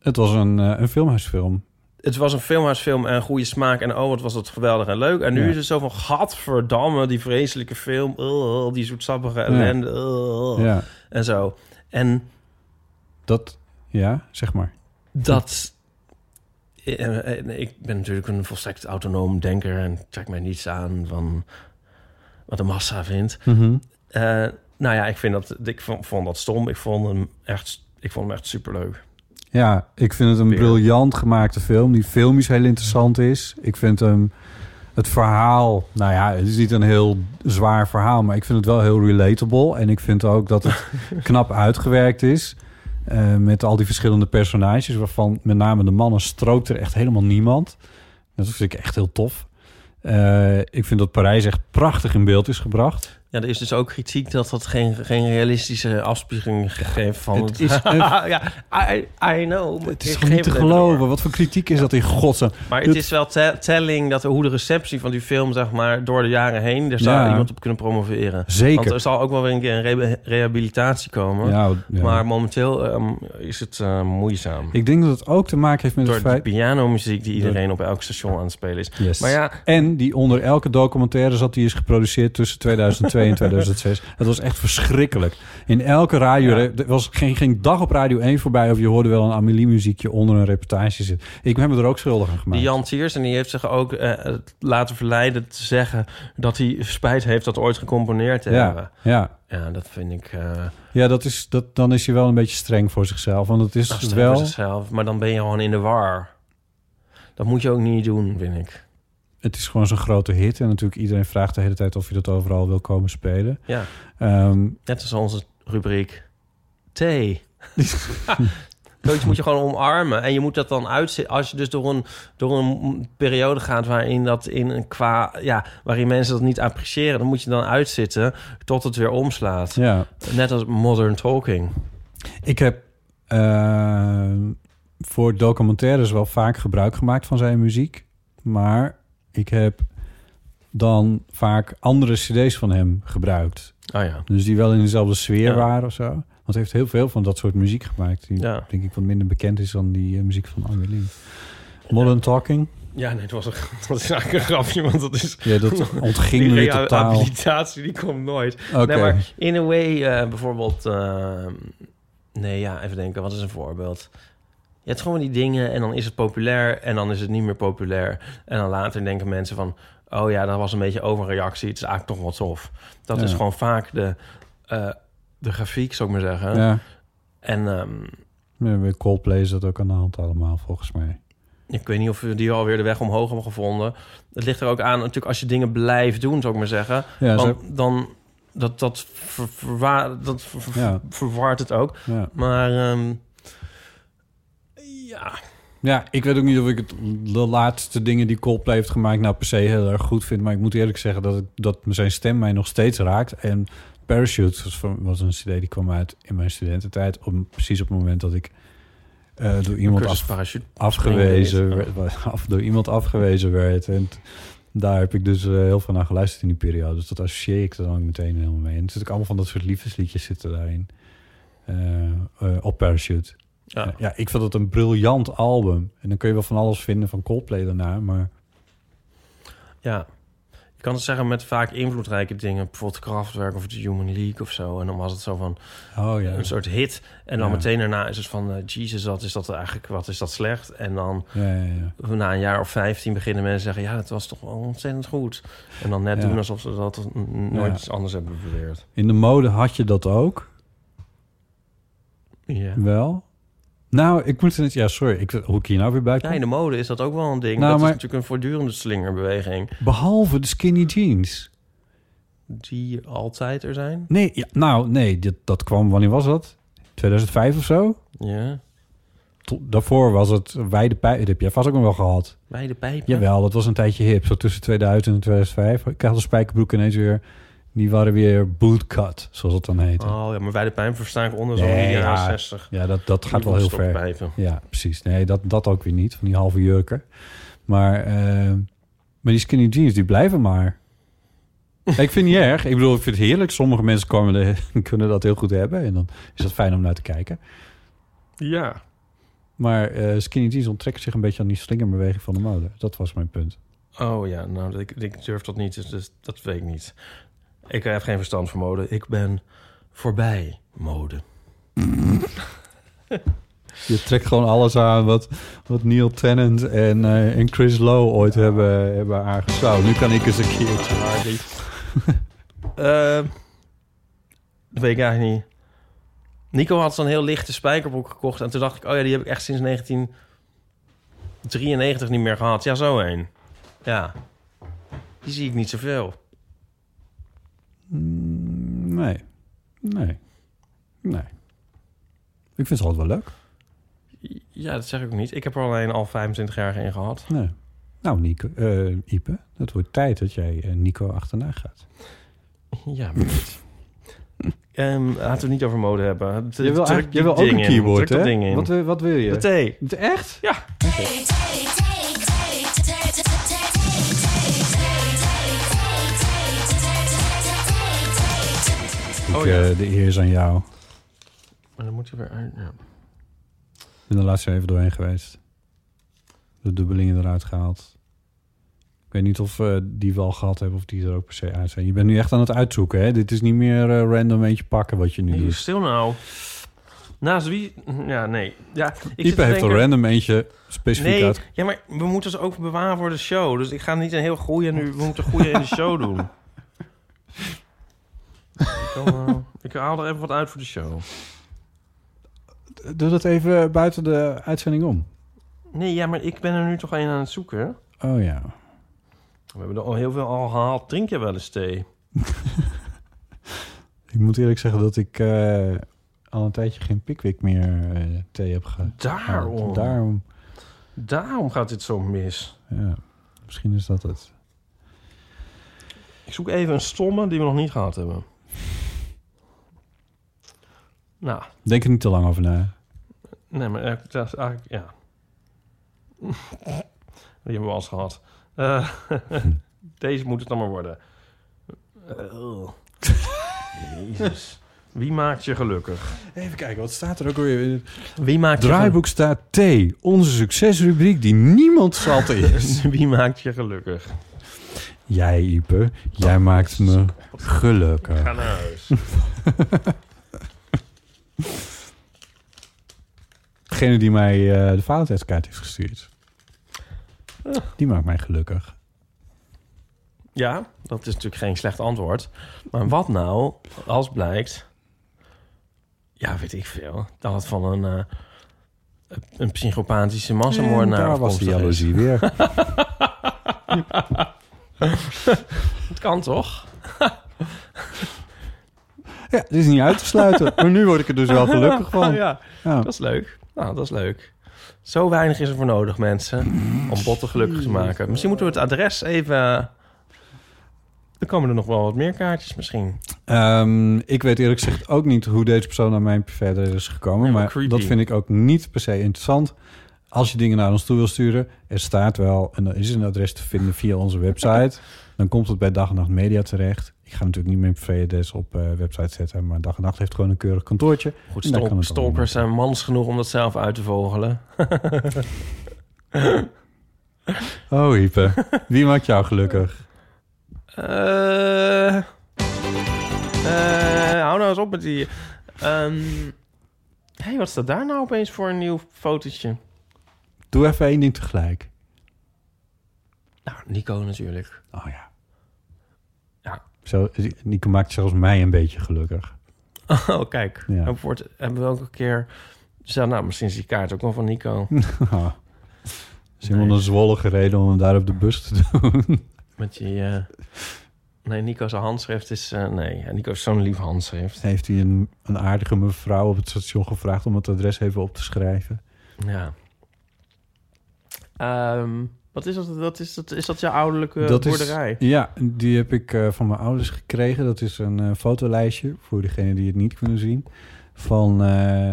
Het was een, eh, een filmhuisfilm.
Het was een filmhuisfilm en goede smaak. En oh, wat was dat geweldig en leuk. En nu
Ja.
is het zo van. Gadverdamme, die vreselijke film. Ugh, die zoetsappige ellende. ugh,
Ja,
En zo. En.
dat... Ja, zeg maar.
dat. Eh, eh, Ik ben natuurlijk een volstrekt autonoom denker en trek mij niets aan van wat de massa vindt.
Mhm.
Eh, nou ja, ik, vind dat, ik vond, vond dat stom. Ik vond hem echt, ik vond hem echt superleuk.
Ja, ik vind het een
Weer.
briljant gemaakte film... die filmisch heel interessant is. Ik vind hem... Het verhaal... Nou ja, het is niet een heel zwaar verhaal... maar ik vind het wel heel relatable. En ik vind ook dat (laughs) het knap uitgewerkt is... eh, met al die verschillende personages... waarvan met name de mannen strookt er echt helemaal niemand. Dat vind ik echt heel tof. Eh, ik vind dat Parijs echt prachtig in beeld is gebracht...
Ja, er is dus ook kritiek dat dat geen, geen realistische afspiegeling geeft van
Het
het. (laughs)
is een-
ja, I, I know. maar
Het is
ik geef
gewoon niet te
het even door.
geloven. Wat voor kritiek is dat in godsnaam?
Maar het
Het-
is wel te- telling dat hoe de receptie van die film, zeg maar, door de jaren heen, daar zou
Ja.
iemand op kunnen promoveren.
Zeker.
Want er zal ook wel weer een keer een re- rehabilitatie komen.
Ja, ja.
Maar momenteel ehm, is het eh, moeizaam.
ik denk dat het ook te maken heeft met
door
het
de
feit...
pianomuziek die iedereen op elk station aan het spelen is.
Yes.
Maar ja,
En die onder elke documentaire zat, die is geproduceerd tussen 2002
(laughs)
en 2006. Dat was echt verschrikkelijk. In elke
Ja.
radio, er was geen, geen dag op Radio 1 voorbij... of je hoorde wel een Amélie-muziekje onder een reportage zitten. Ik heb me er ook schuldig aan
die
gemaakt.
Jan Tiers, en die heeft zich ook eh, laten verleiden te zeggen dat hij spijt heeft dat ooit gecomponeerd te
ja,
hebben.
ja.
Ja, dat vind ik eh
ja dat is, dat, dan is hij wel een beetje streng voor zichzelf. Want het is
Nou, streng voor
wel...
zichzelf. Maar dan ben je gewoon in de war. Dat moet je ook niet doen, vind ik.
Het is gewoon zo'n grote hit. En natuurlijk iedereen vraagt de hele tijd of je dat overal wil komen spelen.
Ja.
Ehm,
Net als onze rubriek (laughs) thee. Zoiets moet je gewoon omarmen. En je moet dat dan uitzitten. Als je dus door een, door een periode gaat waarin dat in een qua. Ja, waarin mensen dat niet appreciëren, dan moet je dan uitzitten tot het weer omslaat.
ja.
Net als modern talking.
Ik heb eh, voor documentaires wel vaak gebruik gemaakt van zijn muziek. Maar ik heb dan vaak andere cd's van hem gebruikt.
Oh ja.
Dus die wel in dezelfde sfeer
Ja.
waren of zo. Want hij heeft heel veel van dat soort muziek gemaakt. Die
Ja.
denk ik wat minder bekend is dan die eh, muziek van Amelie. Modern Talking.
Ja, nee, (laughs) het was, een, dat is eigenlijk een grapje, want dat is.
Ja,
(laughs)
dat ontging
Die
me weer totaal.
rehabilitatie die komt nooit.
Oké.
Nee, maar in a way, eh, bijvoorbeeld... eh, nee, ja, even denken. Wat is een voorbeeld? Je hebt gewoon die dingen en dan is het populair... en dan is het niet meer populair. En dan later denken mensen van... oh ja, dat was een beetje overreactie. Het is eigenlijk toch wat tof. Dat
Ja.
is gewoon vaak de, eh, de grafiek, zou ik maar zeggen.
Ja.
En ehm,
Ja, Bij Coldplay is dat ook aan de hand allemaal, volgens mij.
ik weet niet of we die alweer de weg omhoog hebben gevonden. Het ligt er ook aan, natuurlijk, als je dingen blijft doen, zou ik maar zeggen...
Ja,
dan,
zo-
dan dat, dat, ver- verwa- dat ver- ver-
Ja.
verwaart het ook.
ja.
Maar ehm, ja,
Ja, ik weet ook niet of ik het, de laatste dingen die Coldplay heeft gemaakt... nou per se heel erg goed vind. Maar ik moet eerlijk zeggen dat, ik, dat zijn stem mij nog steeds raakt. En Parachute was, van- was een cd die kwam uit in mijn studententijd. Om, precies op het moment dat ik eh, door iemand
Cursus
af-
parachute.
afgewezen
Springen
werd, af, door iemand afgewezen werd. En t- daar heb ik dus eh, heel veel naar geluisterd in die periode. Dus dat associeer ik er dan ook meteen helemaal mee. En er zitten ook allemaal van dat soort liefdesliedjes zitten daarin. Eh, eh, op Parachute. Eh, Ja.
Ja.
ik vind het een briljant album. En dan kun je wel van alles vinden van Coldplay daarna. Maar
Ja. Je kan het zeggen met vaak invloedrijke dingen. Bijvoorbeeld Kraftwerk of The Human League of zo. En dan was het zo van
oh ja,
een soort hit. En dan
Ja.
meteen daarna is het van... eh, Jezus, wat is dat eigenlijk? Wat is dat slecht? En dan
ja, ja, ja.
na een jaar of 15 beginnen mensen te zeggen... Ja, het was toch wel ontzettend goed. En dan net
Ja.
doen alsof ze dat n- nooit
Ja.
iets anders hebben beweerd.
In de mode had je dat ook
Ja.
wel. Nou, ik moet het... Ja, sorry. Ik, hoe ik hier nou weer bij kom?
Ja, in de mode is dat ook wel een ding.
Nou,
dat
maar-
is natuurlijk een voortdurende slingerbeweging.
Behalve de skinny jeans.
Die altijd er zijn.
Nee, ja, nou, nee. Dit, dat kwam... Wanneer was dat? 2005 of zo?
Ja.
To- daarvoor was het wijde pijp. Dat heb jij vast ook nog wel gehad.
Bij de pijpen.
Jawel, dat was een tijdje hip. Zo tussen 2000 en 2005. Ik had de spijkerbroeken ineens weer... Die waren weer bootcut, zoals het dan heette.
Oh ja, maar bij de pijpen verstaan ik onder zo'n
Nee,
jaren
ja.
60.
Ja, dat, dat gaat wel heel ver.
Pijpen.
Ja, precies. Nee, dat, dat ook weer niet. Van die halve jurken. Maar, eh, maar die skinny jeans, die blijven (laughs) maar. Ik vind het niet erg. Ik bedoel, ik vind het heerlijk. Sommige mensen komen de, (laughs) kunnen dat heel goed hebben. En dan is dat fijn om naar te kijken.
Ja.
Maar eh, skinny jeans onttrekken zich een beetje aan die slingerbeweging van de mode. Dat was mijn punt.
Oh ja, nou, dat- ik, ik durf dat niet, dus, dus dat weet ik niet. Ik heb geen verstand van mode. Ik ben voorbij mode.
Je trekt gewoon alles aan wat, wat Neil Tennant en, eh, en Chris Lowe ooit hebben, hebben aangeschaald. Nu kan ik eens een keertje.
Eh, dat weet ik eigenlijk niet. Nico had zo'n heel lichte spijkerbroek gekocht. En toen dacht ik, oh ja, die heb ik echt sinds 1993 niet meer gehad. Ja, zo een. Ja. Die zie ik niet zoveel.
Mm, Nee. Nee. Nee. Ik vind ze altijd wel leuk.
Ja, dat zeg ik ook niet. Ik heb er alleen al 25 jaar in gehad.
Nee. Nou, Nico, eh, Ipe, het wordt tijd dat jij eh, Nico achterna gaat.
Ja, maar goed. (laughs) Ehm, laten we het niet over mode hebben. Druk-
Je wil,
druk
eigenlijk-
die
je wil ook
ding
een
in.
keyboard,
Druk dat
hè?
ding in.
Wat, wil- wat wil
De
je?
thee.
Echt?
Ja.
Ik,
Oh, ja.
eh, de eer is aan jou.
Maar dan moet hij weer uit. Ja.
Ik ben de laatste even doorheen geweest. De dubbelingen eruit gehaald. Ik weet niet of eh, die we al gehad hebben of die er ook per se uit zijn. Je bent nu echt aan het uitzoeken, hè? Dit is niet meer eh, random eentje pakken wat je nu
Nee,
doet.
stil nou. Naast wie? Ja, nee. Ja, ik zit te
Ipe heeft
denken-
er random eentje specifiek
Nee,
uit.
ja, maar we moeten ze ook bewaren voor de show. Dus ik ga niet een heel goede nu. We moeten goede in de
(laughs)
show doen. Ik kan, eh, ik haal er even wat uit voor de show.
Doe dat even buiten de uitzending om.
Nee, ja, maar ik ben er nu toch een aan het zoeken.
Oh ja.
We hebben er al heel veel al gehaald. Drink je wel eens thee?
Ik moet eerlijk zeggen dat ik eh, al een tijdje geen Pickwick meer eh, thee heb ge.
Daarom.
Daarom.
Daarom gaat dit zo mis.
Ja. Misschien is dat het.
Ik zoek even een stomme die we nog niet gehad hebben. Nou,
Denk er niet te lang over na.
nee, maar eh, dat is eigenlijk, ja. (laughs) Die hebben we al eens gehad. Eh, (laughs) deze moet het dan maar worden. Eh, Jezus. Wie maakt je gelukkig?
Even kijken, wat staat er ook weer in
Wie maakt
Draaiboek staat T, onze succesrubriek die niemand zat (laughs)
(laughs)
is.
Wie maakt je gelukkig?
jij, Ipe, jij maakt me gelukkig.
Ga naar huis.
Degene die mij eh, de Valentijnskaart heeft gestuurd,
Oh.
die maakt mij gelukkig.
Ja, dat is natuurlijk geen slecht antwoord. Maar wat nou als blijkt... Ja, weet ik veel. Dat het van een, eh, een psychopathische
En
massamoordenaar
Eh, daar was de
afkomstig is.
jaloezie
(laughs)
weer.
Het kan toch?
Ja,
(laughs)
het is niet uit te sluiten, maar nu word ik er dus wel (laughs) gelukkig van.
ja,
Ja.
dat is leuk. Nou, dat is leuk. Zo weinig is er voor nodig, mensen, om botten gelukkig te maken. Misschien moeten we het adres even... Er komen er nog wel wat meer kaartjes misschien.
Ehm, ik weet eerlijk gezegd ook niet hoe deze persoon aan mijn verder is gekomen.
Ja, maar
maar
creepy.
dat vind ik ook niet per se interessant. Als je dingen naar ons toe wil sturen, er staat wel en er is een adres te vinden via onze website. Dan komt het bij Dag en Nacht Media terecht. Ik ga natuurlijk niet mijn privéadres op eh, website zetten, maar Dag en Nacht heeft gewoon een keurig kantoortje.
Goed,
En daar
stalk-
kan het allemaal.
stalkers zijn mans genoeg om dat zelf uit te vogelen.
Oh, (laughs) Hype, wie maakt jou gelukkig?
Eh, eh, hou nou eens op met die. Ehm hey, wat staat daar nou opeens voor een nieuw fotootje?
Doe even één ding tegelijk.
Nou, Nico natuurlijk.
Oh ja.
Ja.
Zo, Nico maakt zelfs mij een beetje gelukkig.
(laughs) Oh, kijk.
Ja.
Hebben, we, het- hebben we ook een keer. Zo, nou, misschien is die kaart ook wel van (laughs) Nico.
(laughs) Simon
Oh. Nee.
een zwolle gereden om hem daar op de bus te (laughs) doen.
Met die. eh, Nee, Nico's handschrift is... eh, nee, ja, Nico is zo'n lief handschrift.
Heeft hij een, een aardige mevrouw op het station gevraagd om het adres even op te schrijven?
Ja. Ehm, wat is dat? dat is, dat is dat jouw ouderlijke eh, boerderij?
Is, ja, die heb ik eh, van mijn ouders gekregen. Dat is een eh, fotolijstje, voor degenen die het niet kunnen zien, van eh,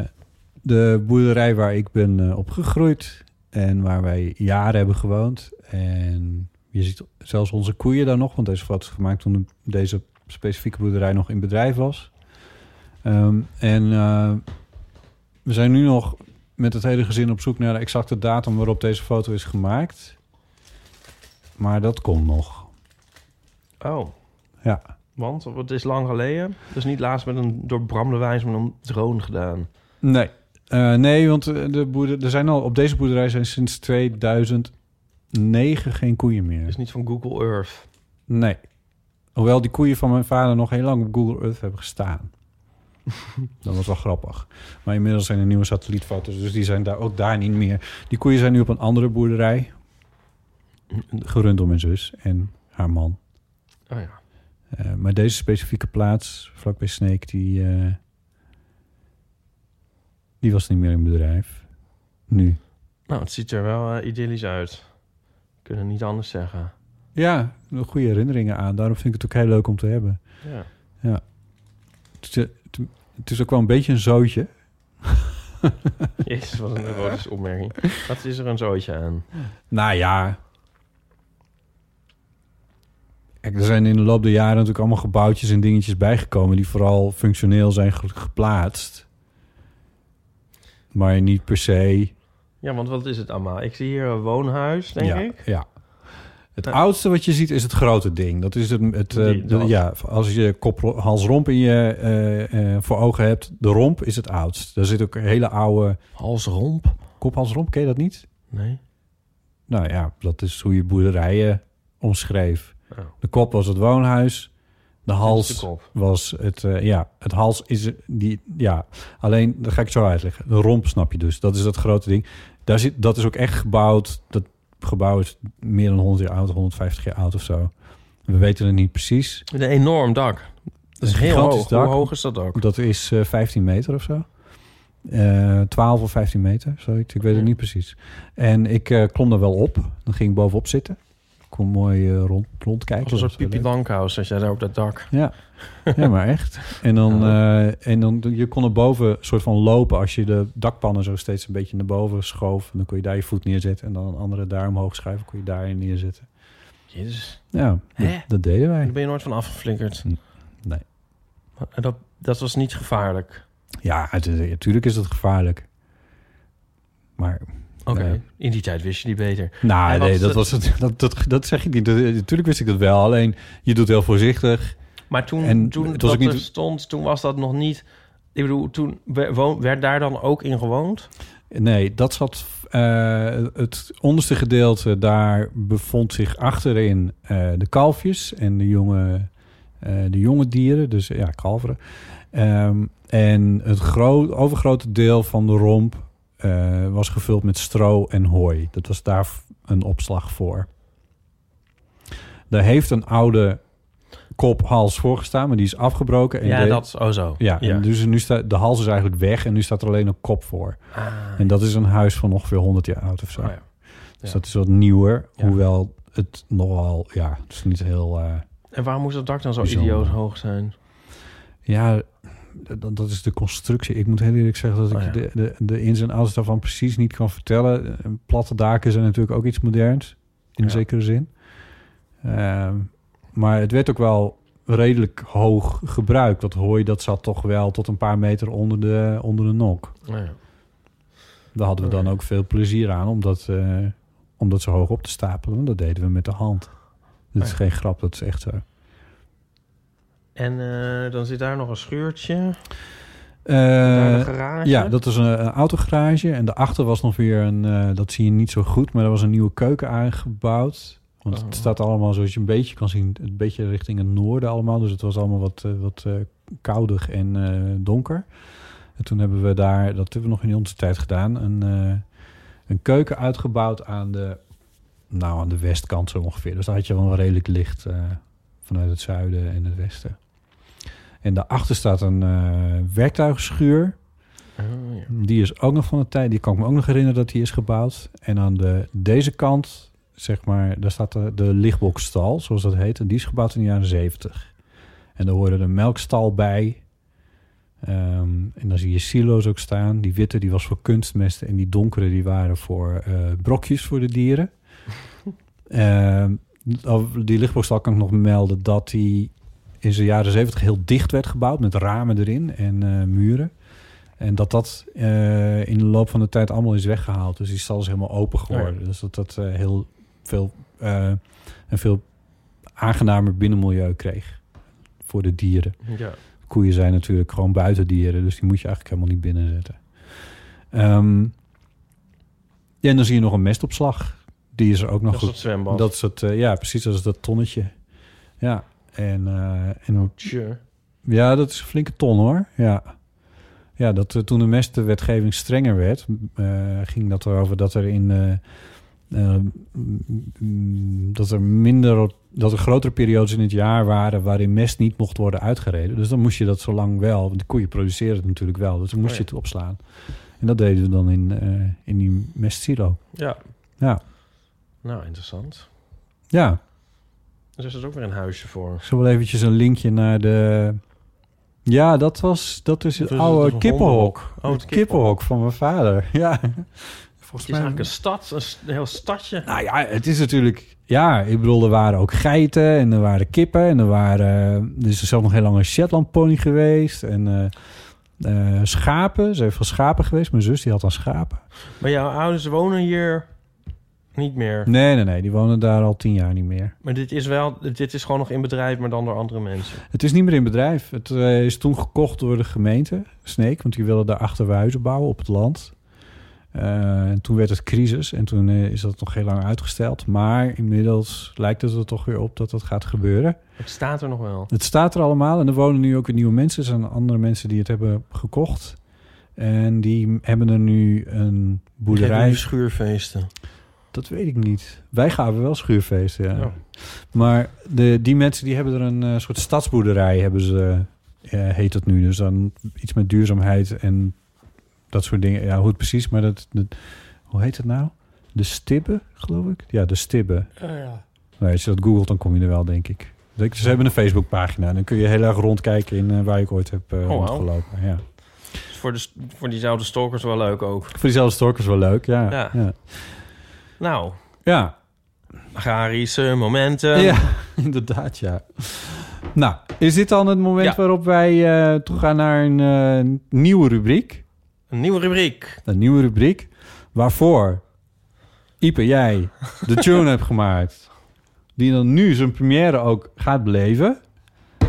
de boerderij waar ik ben eh, opgegroeid en waar wij jaren hebben gewoond. En je ziet zelfs onze koeien daar nog, want deze foto is gemaakt toen de- deze specifieke boerderij nog in bedrijf was. Ehm, en eh, we zijn nu nog met het hele gezin op zoek naar de exacte datum waarop deze foto is gemaakt. Maar dat komt nog.
Oh.
Ja.
Want het is lang geleden. Dus niet laatst met een door Bram de Wijs met een drone gedaan.
Nee. Eh, nee, want eh, de boerder, er zijn al, op deze boerderij zijn sinds 2009 geen koeien
Het
meer.
is niet van Google Earth.
Nee. Hoewel die koeien van mijn vader nog heel lang op Google Earth hebben gestaan.
(laughs)
Dat was wel grappig. Maar inmiddels zijn er nieuwe satellietfoto's, dus die zijn daar ook daar niet meer. Die koeien zijn nu op een andere boerderij. Gerund door mijn zus en haar man.
Oh ja.
Eh, maar deze specifieke plaats, vlakbij Snake, die, eh, die was niet meer in bedrijf. Nu.
Nou, het ziet er wel eh, idyllisch uit. Kunnen niet anders zeggen.
Ja, goede herinneringen aan. Daarom vind ik het ook heel leuk om te hebben.
Ja. (laughs)
Het is, eh, het, het is ook wel een beetje een zootje.
Jezus, wat een erotische opmerking. Wat is er een zootje aan?
Nou ja. Kijk, er zijn in de loop der jaren natuurlijk allemaal gebouwtjes en dingetjes bijgekomen... die vooral functioneel zijn ge- geplaatst. Maar niet per se...
Ja, want wat is het allemaal? Ik zie hier een woonhuis, denk
ja,
ik.
Ja. Het
Ja.
oudste wat je ziet is het grote ding. Dat is het, het eh,
Die-
de-
dat.
ja, als je kop, hals, romp in je eh, eh, voor ogen hebt, de romp is het oudst. Daar zit ook een hele oude
Halsromp?
kop, hals, romp. Ken je dat niet?
Nee.
Nou ja, dat is hoe je boerderijen omschreef.
Oh.
De kop was het woonhuis. De
Dat is
hals
de kop.
was het, eh, ja, het hals is die, ja. Alleen, dat ga ik zo uitleggen. De romp snap je dus. Dat is dat grote ding. Daar zit, dat is ook echt gebouwd. Dat gebouw is meer dan 100 jaar oud, 150 jaar oud of zo. We weten het niet precies.
Met een enorm dak.
Dat is een
Heel
gigantisch
hoog.
dak.
Hoe hoog is dat ook?
Dat is eh, 15 meter of zo. Eh 12 of 15 meter, zoiets. Ik weet het
Ja.
niet precies. En ik eh, klom daar wel op. Dan ging ik bovenop zitten. Ik kon mooi eh, rond,
Als
rondkijken.
een soort
Dat was wel
Pipi
leuk.
Lankhuis, als jij daar op dat dak...
Ja. ja, maar echt. En dan, eh, en dan je kon er boven soort van lopen. Als je de dakpannen zo steeds een beetje naar boven schoof, dan kon je daar je voet neerzetten. En dan een andere daar omhoog schuiven, kon je daarin neerzetten.
Jezus.
Ja,
Hè?
dat, dat deden wij.
Daar ben je nooit van afgeflikkerd.
Nee.
En dat, dat was niet gevaarlijk.
Ja, het is- natuurlijk is dat gevaarlijk. Maar,
Oké.
Nee.
In die tijd wist je die beter.
nou,
En
nee,
wat-
dat, was het, (laughs) dat, dat, dat zeg ik niet. Dat- Natuurlijk wist ik dat wel. Alleen, je doet heel voorzichtig.
Maar toen,
En
toen
het was
dat
ook
er
niet-
stond, toen was dat nog niet... Ik bedoel, toen we- wo- werd daar dan ook in gewoond?
Nee, dat zat. eh, het onderste gedeelte daar bevond zich achterin eh, de kalfjes en de jonge, eh, de jonge dieren, dus ja, kalveren. Ehm, en het gro- overgrote deel van de romp eh, was gevuld met stro en hooi. Dat was daar v- een opslag voor. Daar heeft een oude kop, hals voorgestaan, maar die is afgebroken. En
Ja,
de-
dat is oh zo.
Ja, en dus nu staat de hals is eigenlijk weg en nu staat er alleen een kop voor. En dat is een huis van ongeveer 100 jaar oud of zo.
Ah. Oh ja.
Dus
Ja.
dat is wat nieuwer,
Ja.
hoewel het nogal, ja, het is niet heel... eh,
En waarom moest dat dak dan zo
Bijzonder.
idioot hoog zijn?
ja, dat, dat is de constructie. Ik moet heel eerlijk zeggen dat ik
Oh ja.
de, de, de ins en outs daarvan precies niet kan vertellen. Eh, Platte daken zijn natuurlijk ook iets moderns, in
Ja.
zekere zin. Ehm, maar het werd ook wel redelijk hoog gebruikt. Dat hooi, dat zat toch wel tot een paar meter onder de, onder de nok.
Nou ja.
Daar hadden we dan ook veel plezier aan, omdat, eh, omdat ze hoog op te stapelen. Dat deden we met de hand. Dat is
Oh Ja.
geen grap, dat is echt zo.
En eh, dan zit daar nog een schuurtje. daar de
Eh,
garage.
ja, dat is een, een autogarage. En daarachter was nog weer een, eh, dat zie je niet zo goed, maar er was een nieuwe keuken aangebouwd. Want
Oh.
het staat allemaal, zoals je een beetje kan zien, een beetje richting het noorden allemaal. Dus het was allemaal wat, eh, wat eh, koudig en eh, donker. En toen hebben we daar, dat hebben we nog in onze tijd gedaan, een, eh, een keuken uitgebouwd aan de, nou, aan de westkant zo ongeveer. Dus daar had je wel redelijk licht eh, vanuit het zuiden en het westen. En daarachter staat een eh, werktuigschuur.
Oh, ja.
Die is ook nog van de tijd. Die kan ik me ook nog herinneren dat die is gebouwd. En aan de, deze kant, zeg maar, daar staat de, de lichtbokstal, zoals dat heet. En die is gebouwd in de jaren zeventig. En daar hoorde de melkstal bij. Ehm, en dan zie je silo's ook staan. Die witte, die was voor kunstmest. En die donkere, die waren voor eh, brokjes voor de dieren. Ehm, over die lichtbokstal kan ik nog melden dat die in de jaren zeventig heel dicht werd gebouwd. Met ramen erin en eh, muren. En dat dat eh, in de loop van de tijd allemaal is weggehaald. Dus die stal is helemaal open geworden. Dus dat dat eh, heel veel, eh, een veel aangenamer binnenmilieu kreeg voor de dieren.
ja.
Koeien zijn natuurlijk gewoon buitendieren, dus die moet je eigenlijk helemaal niet binnenzetten. Ehm, ja, en dan zie je nog een mestopslag. Die is er ook nog
Dat is
goed.
het zwembad.
Dat is het, eh, ja, precies, dat is dat tonnetje. Ja, en, eh en
Tje.
ja, dat is een flinke ton hoor. Ja, ja dat, eh, toen de mestwetgeving strenger werd, m, eh, ging dat erover dat er in. eh, eh, m, m, dat er minder. dat er grotere periodes in het jaar waren. waarin mest niet mocht worden uitgereden. Dus dan moest je dat zo lang wel. Want de koeien produceren het natuurlijk wel. Dus dan moest
Oh
je
ja.
het opslaan. En dat deden we dan in, eh, in die mestsilo.
Ja.
Ja.
Nou, interessant.
Ja,
Dus er zit ook weer een huisje voor.
ik zal wel eventjes een linkje naar de. Ja, dat was. Dat is
Of
het
is
oude
het een
kippenhok.
hondenhok?
Oh,
Oh,
het
het
kippenhok van mijn vader. (laughs) Ja.
Het
Volgens
is eigenlijk een stad, een, s- een heel stadje.
Nou ja, het is natuurlijk... Ja, ik bedoel, er waren ook geiten en er waren kippen en er waren... Er is er zelf nog heel lang een Shetland pony geweest en eh, eh, schapen. Ze heeft van schapen geweest. Mijn zus die had dan schapen.
Maar jouw ouders wonen hier niet meer.
Nee, nee, nee. Die wonen daar al tien jaar niet meer.
Maar dit is wel, dit is gewoon nog in bedrijf, maar dan door andere mensen.
Het is niet meer in bedrijf. Het eh, is toen gekocht door de gemeente, Sneek. Want die wilden daar achterhuizen bouwen op het land. Eh, en toen werd het crisis en toen eh, is dat nog heel lang uitgesteld. Maar inmiddels lijkt het er toch weer op dat dat gaat gebeuren.
Het staat er nog wel.
Het staat er allemaal en er wonen nu ook weer nieuwe mensen. Er zijn andere mensen die het hebben gekocht. En die hebben er nu een boerderij.
nu schuurfeesten.
Dat weet ik niet. Wij gaven wel schuurfeesten, ja.
Ja.
Maar de, die mensen die hebben er een eh, soort stadsboerderij, hebben ze, eh, heet dat nu. Dus dan iets met duurzaamheid en dat soort dingen. Ja, hoe het precies, maar dat, dat- hoe heet het nou? De stibbe, geloof ik? Ja, de stibbe.
Oh,
Nou, als je dat googelt, dan kom je er wel, denk ik. Ze hebben een Facebookpagina. en Dan kun je heel erg rondkijken in eh, waar ik ooit heb eh
Oh, wauw.
rondgelopen. Ja.
Voor, de, s- voor die zouden stalkers wel leuk ook.
Voor diezelfde storkers wel leuk, ja.
Ja.
ja.
Nou,
ja.
agrarische momenten.
Ja, (laughs) inderdaad, ja. Nou, is dit dan het moment
Ja.
waarop wij eh, toe gaan naar een eh, nieuwe rubriek?
Een nieuwe rubriek.
Een nieuwe rubriek waarvoor Ipe, jij
(laughs)
de tune hebt gemaakt. Die dan nu zijn première ook gaat beleven. Eh,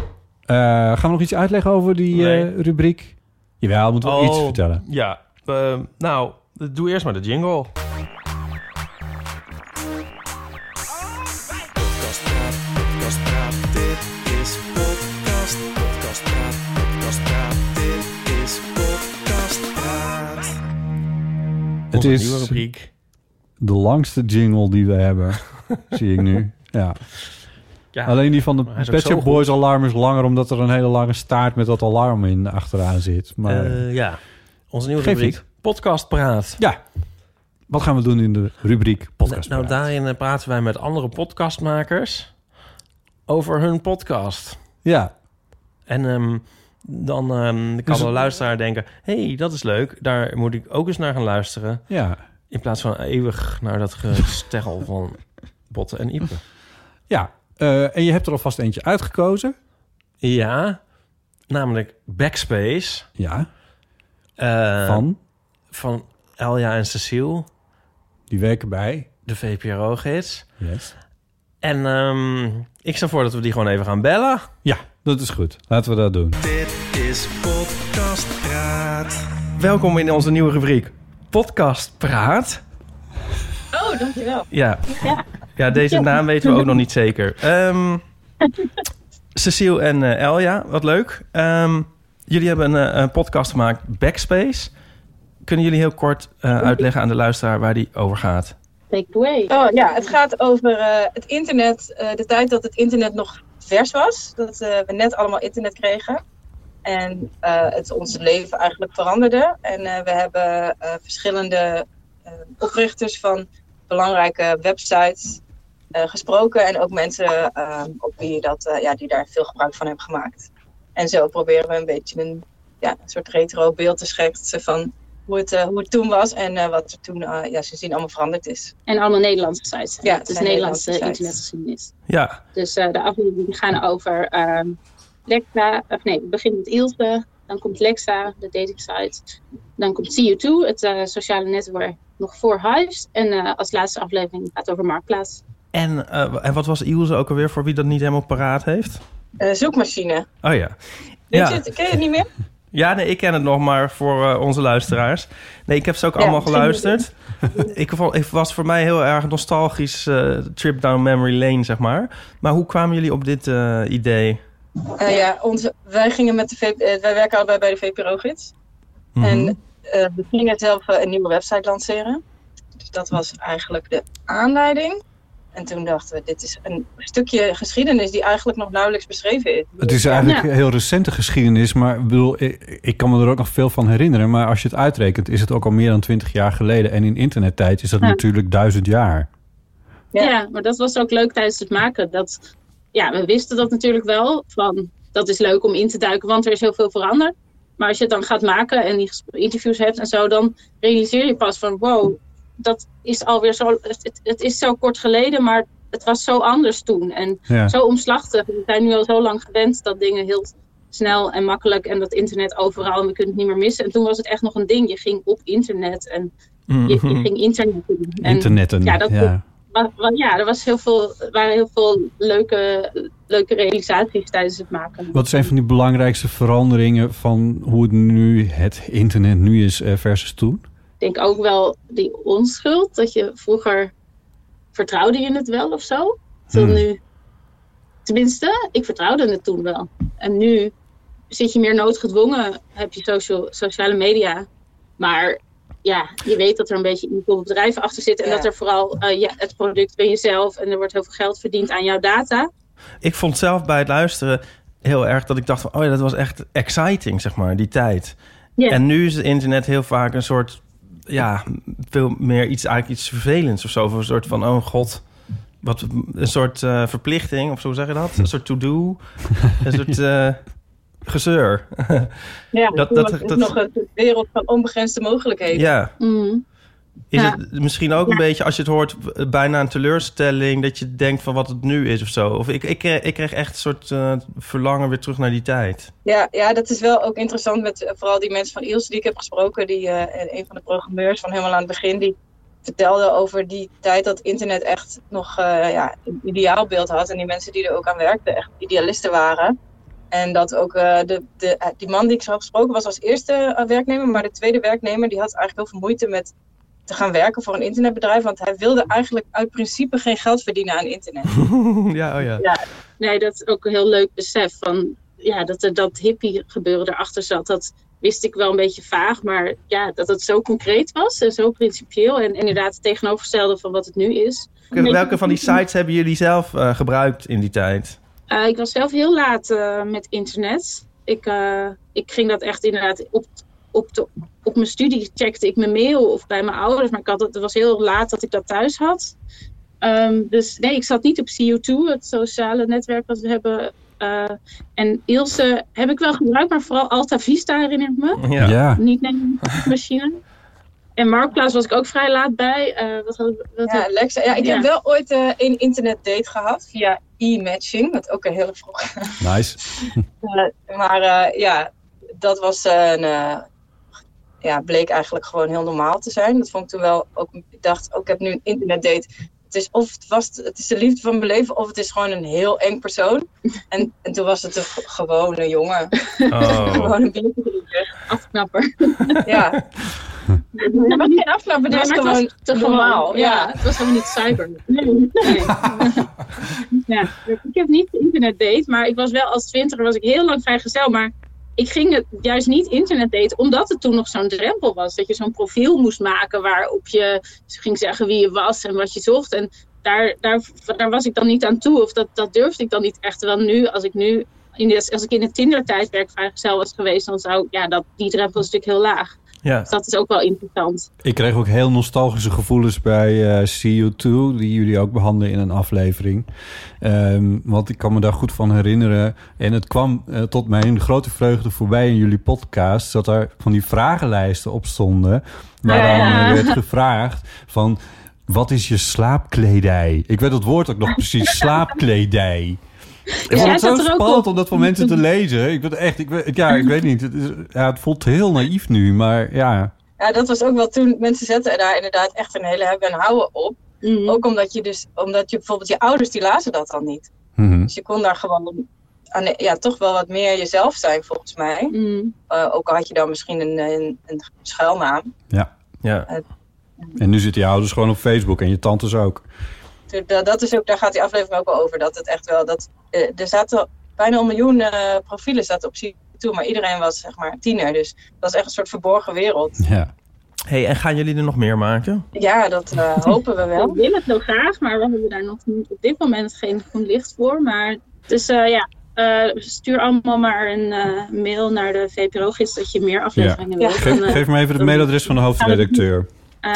gaan we nog iets uitleggen over die
Nee. Oh.
eh, rubriek? Jawel, moeten we iets vertellen.
Ja. Eh, nou, doe eerst maar de jingle.
Het
Onze nieuwe
is
rubriek. (laughs)
de langste jingle die we hebben, zie ik nu. Ja.
Ja.
Alleen die van de
Maar hij is ook
Pet Shop
zo
Boys alarm is langer... omdat er een hele lange staart met dat alarm in achteraan zit. Maar
Eh, ja. Onze nieuwe
Geeft
rubriek.
niet.
Podcast Praat.
ja, wat gaan we doen in de rubriek podcast?
nou, daarin eh, praten wij met andere podcastmakers over hun podcast.
Ja,
En ehm, dan ehm, kan
Dus-
de luisteraar denken... hey, dat is leuk. Daar moet ik ook eens naar gaan luisteren.
ja.
In plaats van eeuwig naar dat
(laughs)
gestegel van botten en iepen.
Ja, eh, en je hebt er alvast eentje uitgekozen.
Ja, namelijk Backspace.
Ja,
eh,
van.
Van Elja en Cecile,
Die werken bij.
de VPRO-gids.
Yes.
En ehm, ik stel voor dat we die gewoon even gaan bellen.
Ja, dat is goed. Laten we dat doen.
is Podcast Praat. Welkom in onze nieuwe rubriek Podcast Praat.
Oh, dankjewel.
Ja, ja deze naam weten we ook nog niet zeker. Ehm Cecile en eh, Elja, wat leuk. Ehm, jullie hebben een, eh, een podcast gemaakt, Backspace. Kunnen jullie heel kort eh, uitleggen aan de luisteraar waar die over gaat?
Take it away. Oh ja, het gaat over eh, het internet. eh, de tijd dat het internet nog vers was. Dat eh, we net allemaal internet kregen. En eh, het ons leven eigenlijk veranderde. En eh, we hebben eh, verschillende eh, oprichters van belangrijke websites eh, gesproken. En ook mensen eh, op wie dat, eh, ja, die daar veel gebruik van hebben gemaakt. En zo proberen we een beetje een, ja, een soort retro beeld te schetsen van hoe het, eh, hoe het toen was. En eh, wat er toen eh, ja, sindsdien allemaal veranderd is.
En allemaal Nederlandse sites. Ja,
Ja, het eh,
het is
zijn
Nederlandse
Nederlandse sites.
internetgeschiedenis.
Ja,
Dus eh, de afleveringen gaan over ehm Lexa. Of nee, het begint met Ilse. Dan komt Lexa, de dating site. Dan komt CU2, het eh, sociale netwerk nog voor Hives. En eh, als laatste aflevering gaat over Marktplaats.
en, eh, en wat was Ilse ook alweer voor wie dat niet helemaal paraat heeft?
Eh, zoekmachine.
Oh ja.
Weet je
Ja,
het? Ken je het niet meer?
ja nee, ik ken het nog maar voor eh, onze luisteraars. Nee, ik heb ze ook
Ja,
allemaal
misschien moet
geluisterd.
(laughs)
ik, vond, ik was voor mij heel erg nostalgisch eh, trip down memory lane, zeg maar. Maar hoe kwamen jullie op dit eh, idee?
Eh, ja, onze, wij, gingen met de V- eh, wij werken allebei bij de VPRO-gids.
Mhm.
En eh, we gingen zelf eh, een nieuwe website lanceren. Dus dat was eigenlijk de aanleiding. En toen dachten we, dit is een stukje geschiedenis die eigenlijk nog nauwelijks beschreven is.
Het is eigenlijk een heel recente geschiedenis, maar ik bedoel, ik, ik kan me er ook nog veel van herinneren. Maar als je het uitrekent, is het ook al meer dan twintig jaar geleden. En in internettijd is dat
Ja.
natuurlijk duizend jaar.
Ja.
Ja. maar dat was ook leuk tijdens het maken. Dat, ja, we wisten dat natuurlijk wel. Van, dat is leuk om in te duiken, want er is heel veel veranderd. Maar als je het dan gaat maken en die ges- interviews hebt en zo, dan realiseer je pas van wow, dat is alweer zo. Het, het- het is zo kort geleden, maar het was zo anders toen. En
Ja.
zo omslachtig. We zijn nu al zo lang gewend dat dingen heel snel en makkelijk en dat internet overal en we kunnen het niet meer missen. En toen was het echt nog een ding. Je ging op internet en je, je ging Mhm. internet doen. En-
Internetten.
ja, dat-
ja.
maar, maar ja, er was heel veel, er waren heel veel leuke, leuke realisaties tijdens het maken.
Wat zijn van die belangrijkste veranderingen van hoe het nu het internet nu is eh, versus toen?
Ik denk ook wel die onschuld, dat je vroeger vertrouwde je het wel of zo. Terwijl
Hmm.
nu, tenminste, ik vertrouwde het toen wel. En nu zit je meer noodgedwongen, heb je social, sociale media. Maar ja, je weet dat er een beetje een bedrijven achter zitten. En
Ja.
dat er vooral eh, ja, het product ben jezelf. En er wordt heel veel geld verdiend aan jouw data.
Ik vond zelf bij het luisteren heel erg dat ik dacht van... oh ja, dat was echt exciting, zeg maar, die tijd.
Ja.
En nu is het internet heel vaak een soort... ja, veel meer iets, eigenlijk iets vervelends of zo. Of een soort van, oh god... Wat, een soort eh, verplichting, of zo zeg je dat? Een soort
(laughs)
to-do. Een soort eh, gezeur.
Ja,
Dat-
toen
dat-
was het
dat-
nog een wereld van onbegrensde mogelijkheden.
ja.
Mhm.
Is
Ja.
het misschien ook een beetje, als je het hoort, eh, bijna een teleurstelling... dat je denkt van wat het nu is of zo? Of ik, ik, kreeg- ik kreeg echt een soort eh, verlangen weer terug naar die tijd.
Ja, ja, dat is wel ook interessant met eh, vooral die mensen van Iels die ik heb gesproken. Die, eh, en een van de programmeurs van helemaal aan het begin, die vertelde over die tijd dat internet echt nog eh, ja, een ideaalbeeld had. En die mensen die er ook aan werkten echt idealisten waren. En dat ook eh, de, de, eh, die man die ik zo had gesproken was als eerste eh, werknemer. Maar de tweede werknemer die had eigenlijk heel veel moeite met te gaan werken voor een internetbedrijf. Want hij wilde eigenlijk uit principe geen geld verdienen aan internet.
ja, oh ja.
Nee, dat is ook een heel leuk besef van ja, dat er dat hippie gebeuren erachter zat. Dat wist ik wel een beetje vaag. Maar ja, dat het zo concreet was en zo principieel. En inderdaad het tegenovergestelde van wat het nu is.
Welke, welke van die sites hebben jullie zelf eh, gebruikt in die tijd?
Eh, ik was zelf heel laat eh, met internet. Ik, eh, ik ging dat echt inderdaad op, op, de, op mijn studie checkte ik mijn mail of bij mijn ouders. Maar ik had, het het was heel laat dat ik dat thuis had. Ehm, dus nee, ik zat niet op CU2, het sociale netwerk wat we hebben. Eh, en Ilse heb ik wel gebruikt, maar vooral Alta Vista herinner ik me.
Ja. Ja.
Niet nemen machine. En Marktplaats was ik ook vrij laat bij. Eh, wat had, ik- wat
Ja,
had-
Lexa. Ja, ik
Ja.
heb wel ooit eh, een internetdate gehad via e-matching, wat ook een hele vroeg.
Nice.
Eh, maar eh, ja, dat was een, eh, ja, bleek eigenlijk gewoon heel normaal te zijn. Dat vond ik toen wel ook. Ik dacht, oh, ik heb nu een internetdate. Het is of het, was, het is de liefde van mijn leven, of het is gewoon een heel eng persoon. En, en toen was het een g- gewone jongen.
Oh.
gewoon een biertje drinken.
(laughs) Afknapper.
Ja.
Nee, maar
geen afknapper, dat was gewoon
te
normaal,
Ja.
ja.
het was helemaal niet cyber. Nee, nee. (laughs) ja, ik heb niet internet date, maar ik was wel als twintiger was ik heel lang vrijgezel, maar ik ging het juist niet internet date, omdat het toen nog zo'n drempel was. Dat je zo'n profiel moest maken waarop je ging zeggen wie je was en wat je zocht. En daar, daar, daar was ik dan niet aan toe. Of dat, dat durfde ik dan niet echt. Terwijl nu, als ik nu in de, als ik in het Tinder tijdperk vrijgezel was geweest, dan zou ja, dat, die drempel is natuurlijk heel laag.
Ja.
Dus dat is ook wel interessant.
Ik kreeg ook heel nostalgische gevoelens bij eh CO2, die jullie ook behandelen in een aflevering. Ehm, want ik kan me daar goed van herinneren. En het kwam eh, tot mijn grote vreugde voorbij in jullie podcast, dat er van die vragenlijsten op stonden. Waaraan
Ja.
eh, werd gevraagd van, wat is je slaapkledij? Ik weet dat woord ook nog
(laughs)
precies, slaapkledij. Ik
Ja,
vond het
jij
zo
zat er ook
spannend
op.
om dat voor mensen te lezen. Ik, ben echt, ik, weet- ja, ik weet niet. Het, is, ja, het voelt heel naïef nu, maar ja.
Ja, dat was ook wel toen. Mensen zetten daar inderdaad echt een hele hebben en houden op.
Mhm.
Ook omdat je dus, omdat je bijvoorbeeld je ouders die lazen dat dan niet.
Mhm.
Dus je kon daar gewoon aan, ja, toch wel wat meer jezelf zijn volgens mij.
Mhm.
Eh, ook al had je dan misschien een, een, een schuilnaam.
Ja.
ja.
En nu zitten je ouders gewoon op Facebook en je tantes ook.
Toen- da- Dat is ook, daar gaat die aflevering ook wel over. Dat het echt wel, dat, eh, er zaten bijna een miljoen eh, profielen zaten op toe, maar iedereen was zeg maar tiener. Dus dat was echt een soort verborgen wereld.
Ja.
hey, en gaan jullie er nog meer maken?
Ja, dat (laughs) eh, hopen we wel.
We willen het nog graag, maar we hebben daar nog niet- op dit moment geen groen licht voor. Maar, dus eh, ja, eh, stuur allemaal maar een eh, mail naar de VPRO-gids dat je meer
ja.
afleveringen wilt.
Geef,
Dan, eh,
geef me even het mailadres van de hoofdredacteur.
eh, (laughs)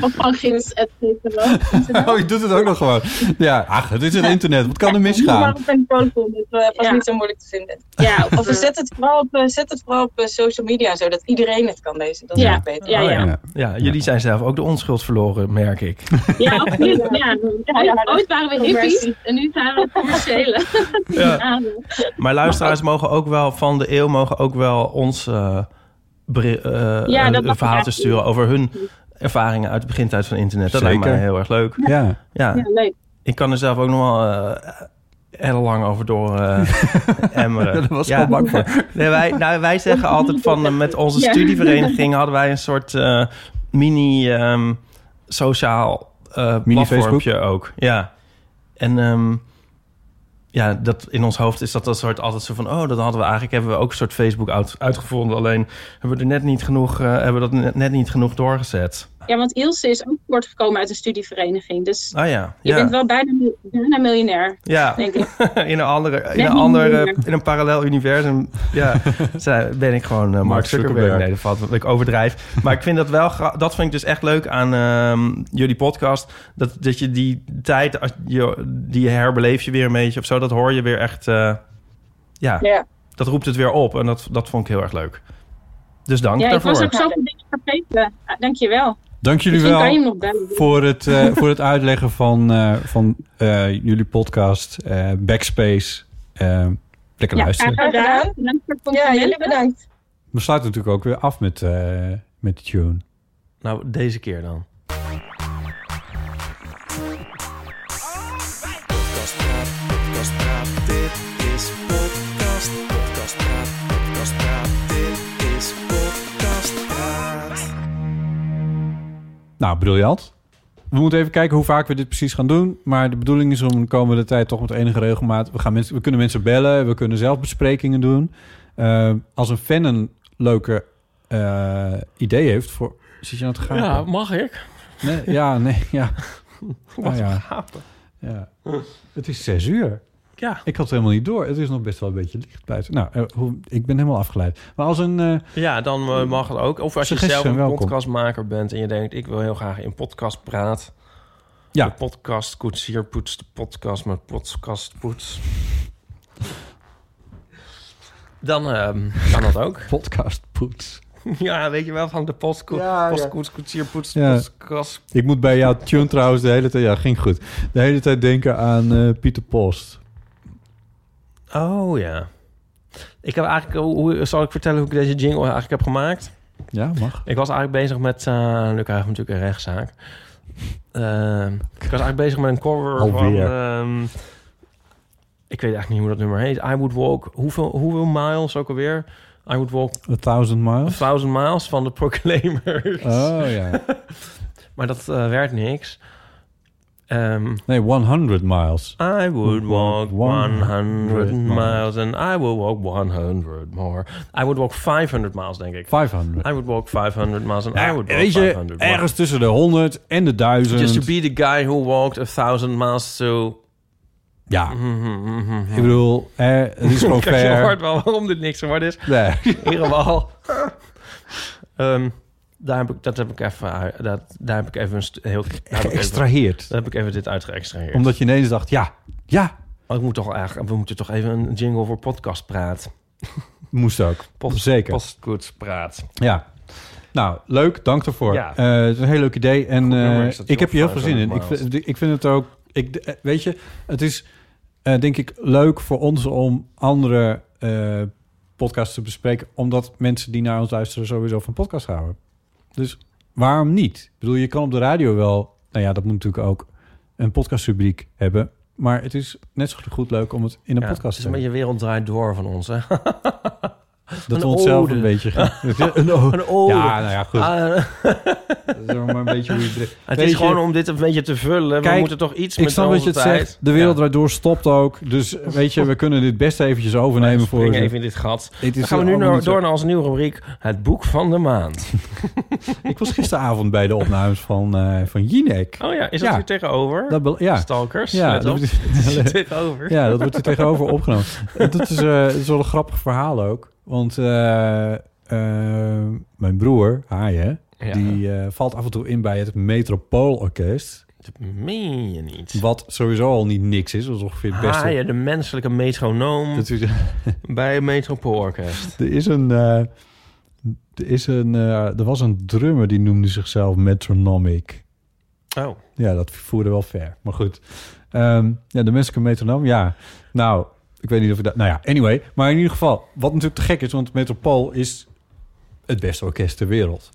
of van gids.vpro.
(laughs) Oh, je doet het ook nog gewoon. Ja, ach, het is het internet. Wat kan er
Maar
misgaan?
op een telefoon, dat eh, was
Ja.
niet zo moeilijk te vinden.
Ja,
of eh, zet het vooral op, eh, zet het vooral op eh, social media, zodat iedereen het kan lezen. Dat is
Ja.
nog beter.
Ja,
Oh,
ja.
ja. Ja, jullie zijn zelf ook de onschuld verloren, merk ik.
(laughs) Ja, absoluut. Ja.
Ja, ja, dat-
Ooit waren we hippies en nu zijn we commerciële.
Ja.
Ja.
Maar luisteraars mogen ook wel van de eeuw mogen ook wel ons eh, beri- eh,
Ja, dat
een- een
mag
verhaal te
eigenlijk.
sturen over hun ervaringen uit de begintijd van internet. Dat lijkt
Zeker.
mij heel erg leuk.
Ja.
Ja.
Ja, leuk.
Ik kan er zelf ook nog wel eh heel lang over door eh, emmeren.
(laughs) Daar was ik al bang voor.
Nee, wij, nou, wij zeggen altijd van eh, met
(laughs)
onze
Ja.
studievereniging hadden wij een soort eh, mini ehm, sociaal eh
Mini
platformpje ook. Ja. En ehm, ja, dat in ons hoofd is dat dat soort altijd zo van oh, dat hadden we eigenlijk hebben we ook een soort Facebook uit, uitgevonden. Alleen hebben we er net niet genoeg, eh, hebben we dat net, net niet genoeg doorgezet.
Ja, want Ilse is ook voortgekomen uit een studievereniging. Dus
Ah ja.
je
ja.
bent wel bijna, mil- bijna miljonair.
Ja,
Denk ik.
(laughs) in een andere, in
Net
een,
niet
andere
meer.
in een parallel universum
(laughs)
ja, zij- ben ik gewoon eh, Mark Zuckerberg.
Zuckerberg.
Nee, dat valt, ik overdrijf. Maar ik vind dat wel, gra- dat vind ik dus echt leuk aan ehm, jullie podcast. Dat, dat je die tijd, als je, die herbeleef je weer een beetje of zo. Dat hoor je weer echt, eh, ja,
Ja.
dat roept het weer op. En dat, dat vond ik heel erg leuk. Dus dank
ja, ik
daarvoor.
was ook zoveel dingen vergeten. Ah, Dankjewel.
Dank jullie
Misschien kan je hem nog
wel
bellen.
voor het, eh, voor het uitleggen van, eh, van eh, jullie podcast eh, Backspace. Eh, lekker
Ja,
luisteren.
graag gedaan. Bedankt voor het
Ja,
complimenten.
jullie bedankt.
We sluiten natuurlijk ook weer af met, eh, met de tune.
Nou, deze keer dan.
Podcast praat, podcast praat, dit is podcast. Podcast praat, podcast praat, dit is podcast praat.
Nou, briljant. We moeten even kijken hoe vaak we dit precies gaan doen. Maar de bedoeling is om de komende tijd toch met enige regelmaat... We, gaan mensen, we kunnen mensen bellen, we kunnen zelf besprekingen doen. eh, als een fan een leuke eh, idee heeft voor... Zit je aan het gapen?
Ja, mag ik?
Nee, ja, nee,
(laughs)
ja.
Wat
Ah, ja.
gapen.
Ja. Het is zes uur.
Ja.
Ik had het helemaal niet door. Het is nog best wel een beetje licht buiten. Nou, eh, hoe, ik ben helemaal afgeleid. Maar als een... eh,
Ja, dan eh, mag het ook. Of als je
Suggesties
zelf
zijn
een
welkom.
podcastmaker bent en je denkt... ik wil heel graag in podcast praat.
Ja.
De podcast koetsier poetst de podcast met podcast poets. Dan ehm, kan dat
(laughs)
ook.
podcast poets.
Ja, weet je wel, van de postkoets,
Ja, ja.
postkoets, koetsier poetst de
Ja.
podcast.
Ik moet bij jou tune trouwens de hele tijd... Ja, ging goed. De hele tijd denken aan eh, Pieter Post.
Oh ja. Ik heb eigenlijk, hoe, hoe- zal ik vertellen hoe ik deze jingle eigenlijk heb gemaakt?
Ja, mag.
Ik was eigenlijk bezig met, eh nu krijgen we natuurlijk een rechtszaak. Ehm, ik was eigenlijk bezig met een cover van,
Alweer.
ehm, ik weet eigenlijk niet hoe dat nummer heet. I Would Walk, hoeveel, hoeveel miles ook alweer? I Would Walk
A Thousand Miles.
1000 Miles van de Proclaimers.
Oh, ja.
(laughs) maar dat eh, werd niks. Ehm,
Nee, 100 Miles.
I would walk 100
100
miles and I will walk 100 more. I would walk 500 miles, denk ik.
500.
I would walk 500 miles and I would walk
Weet je,
500 more.
ergens tussen de 100 en de 1000.
Just to be the guy who walked a thousand miles mm-hmm, to...
Ja. Ik bedoel, eh, het
(laughs)
is gewoon
Kijk, je
fair.
hoort wel waarom dit niks geworden is.
Nee.
In ieder geval... (laughs) Ehm, daar heb ik, dat heb ik even, uit- dat, daar heb ik even een st- heel... daar heb ik even-
Geëxtraheerd.
Daar heb ik even dit uitgeëxtraheerd.
Omdat je ineens dacht, ja, ja.
Oh, ik moet toch eigenlijk, we moeten toch even een jingle voor podcast praat.
Moest ook.
Post,
Zeker.
Postkoets praat.
Ja. Nou, leuk. Dank daarvoor.
Ja.
Eh, het is een heel leuk idee. En
nummer
eh,
is dat
ik heb
John
je heel veel zin in. Ik
Five Hundred
vind, ik vind het ook... Ik, eh, weet je, het is eh, denk ik leuk voor ons om andere eh, podcasts te bespreken. Omdat mensen die naar ons luisteren sowieso van podcast houden. Dus waarom niet? Ik bedoel, je kan op de radio wel... Nou ja, dat moet natuurlijk ook een podcastrubriek hebben. Maar het is net zo goed leuk om het in een
Ja,
podcast
Het is
te
een
hebben.
beetje wereld draait door van ons,
(laughs)
hè?
Dat we onszelf een beetje...
(laughs) een
o-
ode. Ah,
Ja, nou ja, goed. dat is maar een beetje hoe je het-
eh, (laughs) Het
Weet
is
je-
gewoon om dit een beetje te vullen. we
Kijk,
moeten toch iets
Ik
met
snap
onze
wat je het
tijd.
zegt. De wereld draait door stopt ook. Dus weet je, we kunnen dit best eventjes overnemen
We
voor...
springen even in dit gat.
Dit
Dan
is eh,
gaan we nu naar-
allemaal Dus oh, niet zo-
door naar onze nieuwe rubriek. Het boek van de maand.
Ik was gisteravond bij de opnames van, eh van Jinek.
Oh ja, is dat hier tegenover?
Dat be- ja.
Stalkers,
Ja,
let
dat
op.
wordt-
Dat (laughs) is hier tegenover.
Ja, dat wordt hier tegenover opgenomen. Dat is, eh, dat is wel een grappig verhaal ook. Want eh, eh, mijn broer, Haaien,
Ja.
die eh, valt af en toe in bij het Metropoolorkest.
Dat meen je niet.
Wat sowieso al niet niks is. Dat is ongeveer het beste.
Haaien, de menselijke metronoom
Dat is-
bij het Metropoolorkest.
Er is een. eh, er, is een eh, er was een drummer die noemde zichzelf Metronomic.
Oh.
Ja, dat voerde wel ver. Maar goed. Ehm, ja, de menselijke metronoom, ja. Nou, ik weet niet of ik dat... Nou ja, anyway. Maar in ieder geval, wat natuurlijk te gek is... want Metropool is het beste orkest ter wereld.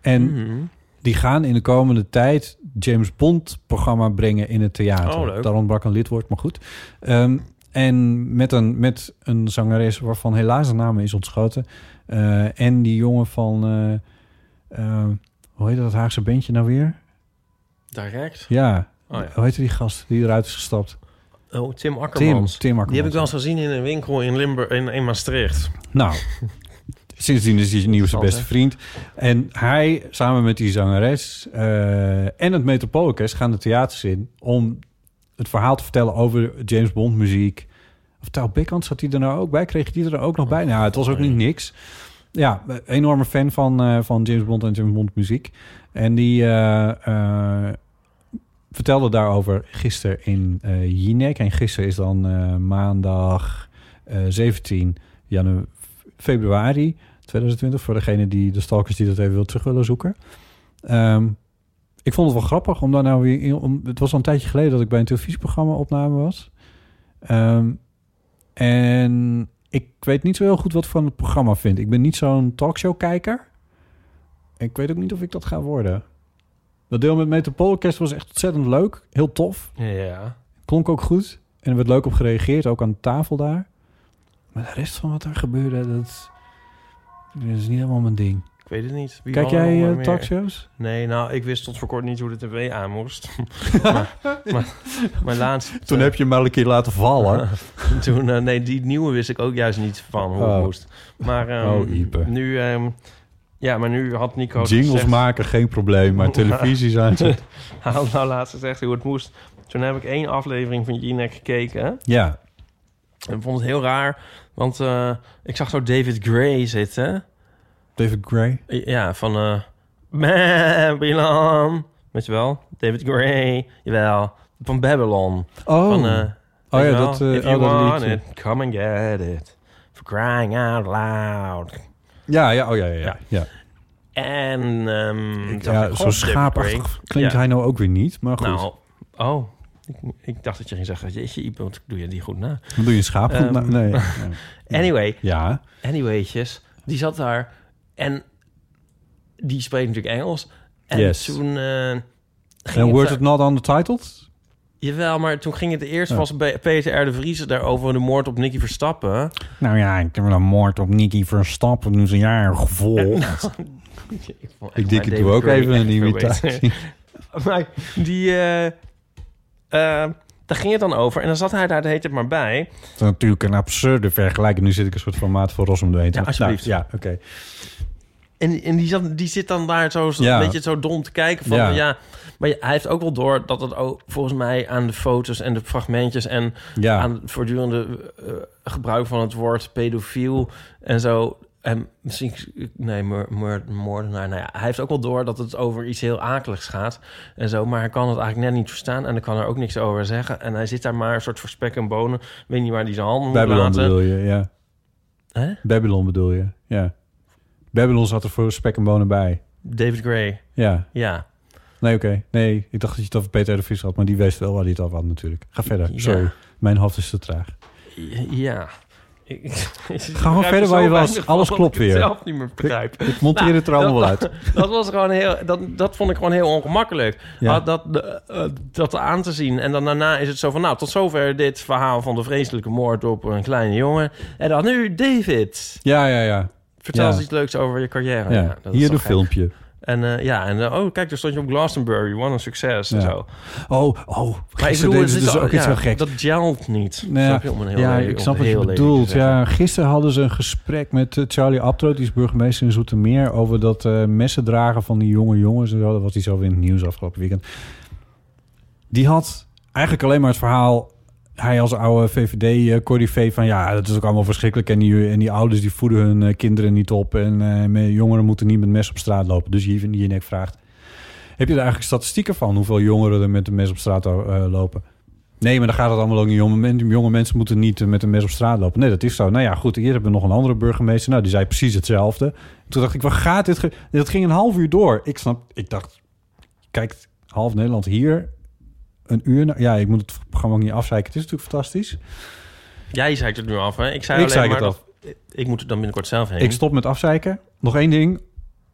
En
Mm-hmm.
die gaan in de komende tijd... James Bond-programma brengen in het theater.
Oh, leuk.
Daar ontbrak een lidwoord, maar goed. Ehm, en met een, met een zangeres waarvan helaas de naam is ontschoten. Eh, en die jongen van... eh, eh, hoe heet dat Haagse bandje nou weer?
Direct?
Ja.
Oh ja.
Hoe heette die gast die eruit is gestapt?
Oh, Tim Akkermans.
Tim Akkermans,
Die heb ik wel eens gezien in een winkel in, Limburg, in, in Maastricht.
Nou, (laughs) sindsdien is hij zijn nieuwste
Interessant,
beste
hè?
vriend. En hij, samen met die zangeres eh, en het Metropoolorkest... gaan de theaters in om het verhaal te vertellen over James Bond muziek. Of Tao Bekkant zat hij er nou ook bij? Kreeg hij er ook nog bij? Nou, het was ook niet niks. Ja, enorme fan van, eh, van James Bond en James Bond muziek. En die... eh, eh, vertelde daarover gisteren in eh Jinek. En gisteren is dan eh, maandag eh, 17 janu- februari 2020. Voor degene die de stalkers die dat even wil terug willen zoeken. Ehm, ik vond het wel grappig om daar nou weer in. Om, het was al een tijdje geleden dat ik bij een televisieprogramma opname was. Ehm, en ik weet niet zo heel goed wat ik van het programma vind. Ik ben niet zo'n talkshow-kijker. Ik weet ook niet of ik dat ga worden. Dat deel met Metropoolorkest was echt ontzettend leuk. Heel tof.
Ja.
Klonk ook goed. En er werd leuk op gereageerd, ook aan de tafel daar. Maar de rest van wat er gebeurde, dat, dat is niet helemaal mijn ding.
Ik weet het niet. Wie
Kijk
hadden we
jij,
nog
eh,
meer?
talkshows?
Nee, nou, ik wist tot voor kort niet hoe de tv aan
(laughs)
moest. maar, maar, maar laatst... eh,
Toen heb je hem maar een keer laten
(laughs)
vallen.
Toen, eh, nee, die nieuwe wist ik ook juist niet van hoe het
Oh.
moest. Maar ehm,
Oh, Ipe.
nu... ehm, ja, maar nu had Nico het
Jingles
gezegd-
maken, geen probleem, maar televisies aanzetten.
(laughs) Hij had nou laatst gezegd hoe het moest. Toen heb ik één aflevering van Jinek gekeken.
Ja.
En ik vond het heel raar, want eh, ik zag zo David Gray zitten.
David Gray?
Ja, van... eh, (laughs) Babylon. Weet je wel? David Gray. Jawel. Van Babylon.
Oh.
Van, eh,
Oh
weet je
ja,
wel?
dat, eh,
If you
oh, dat
want
liedje.
it, come and get it. For crying out loud.
Ja, ja, oh ja, ja, ja. ja.
En... ehm, toen dacht
ja
ik,
zo
God, David Gray.
schaapachtig klinkt
Ja.
hij nou ook weer niet, maar goed.
Nou, oh. Ik, ik dacht dat je ging zeggen, jeetje, Ipe, wat doe je die goed na?
Dan doe je een schaap goed
Ehm,
na- nee, nee.
anyway.
Ja.
Anywaytjes, die zat daar en die spreekt natuurlijk Engels. En
Yes.
toen eh, ging
En
het-
wordt het not undertitled?
Jawel, nou, maar toen ging het eerst
Ja.
was bij Peter R. de Vries het daarover de moord op Nicky Verstappen.
Nou ja, ik heb een moord op Nicky Verstappen nu zijn jaar gevolgd. (laughs) ik denk, ik doe ook even een (laughs) imitatie.
maar die... eh, eh, daar ging het dan over. En dan zat hij daar, de heet het maar bij.
Dat is natuurlijk een absurde vergelijking. Nu zit ik een soort van maat voor Rossum doorheen. te-
Ja, alsjeblieft.
Nou, ja, oké.
En, en die, zat, die zit dan daar zo, zo
Ja.
een beetje zo dom te kijken. Van, ja.
Ja.
maar hij heeft ook wel door dat het ook volgens mij aan de foto's en de fragmentjes... en
Ja.
aan het voortdurende eh, gebruik van het woord pedofiel en zo... En misschien, nee, moor- moor- moordenaar. Nou ja, hij heeft ook wel door dat het over iets heel akeligs gaat en zo. Maar hij kan het eigenlijk net niet verstaan en hij kan er ook niks over zeggen. En hij zit daar maar een soort voor spek en bonen. Weet niet waar hij zijn handen moet
Babylon
laten.
bedoel je, ja.
Hè?
Babylon bedoel je, ja. Babylon zat er voor spek en bonen bij.
David Gray.
Ja.
Ja.
Nee, oké. Nee, ik dacht dat je het over Peter R. de Vries had, maar die wist wel waar hij het over had natuurlijk. Ga verder. Sorry, mijn hoofd is te traag.
Ja. (laughs)
gewoon verder waar je was. Alles klopt
Ik
weer.
het zelf niet meer begrijp.
Ik- ik monteer het er allemaal
Nou, dat,
wel
Dat, was gewoon heel, dat, dat vond ik gewoon heel ongemakkelijk.
Ja.
Ah, Dat, eh, eh, dat aan te zien. En dan daarna is het zo van... Nou, tot zover dit verhaal van de vreselijke moord op een kleine jongen. En dan nu David.
Ja, ja, ja.
Vertel
Ja.
eens iets leuks over je carrière.
Ja,
Ja, dat is
hier
toch
een
gek.
filmpje.
En eh, ja, en eh, oh kijk, daar stond je op Glastonbury. Wat een succes en
Ja.
zo.
Oh, oh.
Maar ik
gisteren
bedoel,
deden ze
het is
dus
al-
ook iets
ja,
heel geks.
Dat gelt niet.
Nou ja,
Snap je? Om een heel
ja,
lelijk-
ik
om
snap
een
wat je
heel lelijk te
bedoelt.
zeggen.
Ja, gisteren hadden ze een gesprek met eh, Charlie Abtroot, die is burgemeester in Zoetermeer, over dat eh, messen dragen van die jonge jongens. En zo. Dat was iets over in het nieuws afgelopen weekend. Die had eigenlijk alleen maar het verhaal. Hij als oude VVD-corrivé eh, van ja, dat is ook allemaal verschrikkelijk. En die, en die ouders die voeden hun eh, kinderen niet op. En eh, me- jongeren moeten niet met mes op straat lopen. Dus hier je nek vraagt. Heb je daar eigenlijk statistieken van? Hoeveel jongeren er met een mes op straat eh, lopen? Nee, maar dan gaat het allemaal ook niet om. Men- Jonge mensen moeten niet eh, met een mes op straat lopen. Nee, dat is zo. Nou ja, goed. Hier hebben we nog een andere burgemeester. Nou, die zei precies hetzelfde. Toen dacht ik, waar gaat dit? ge- Dat ging een half uur door. Ik snap, ik dacht, kijkt half Nederland hier een uur naar. Ja, ik moet het programma ook niet afzeiken. Het is natuurlijk fantastisch.
Jij zei het nu af, hè? Ik zei
Ik
alleen
zei
maar
het
dat... Ik moet er dan binnenkort zelf heen.
Ik stop met afzeiken. Nog één ding.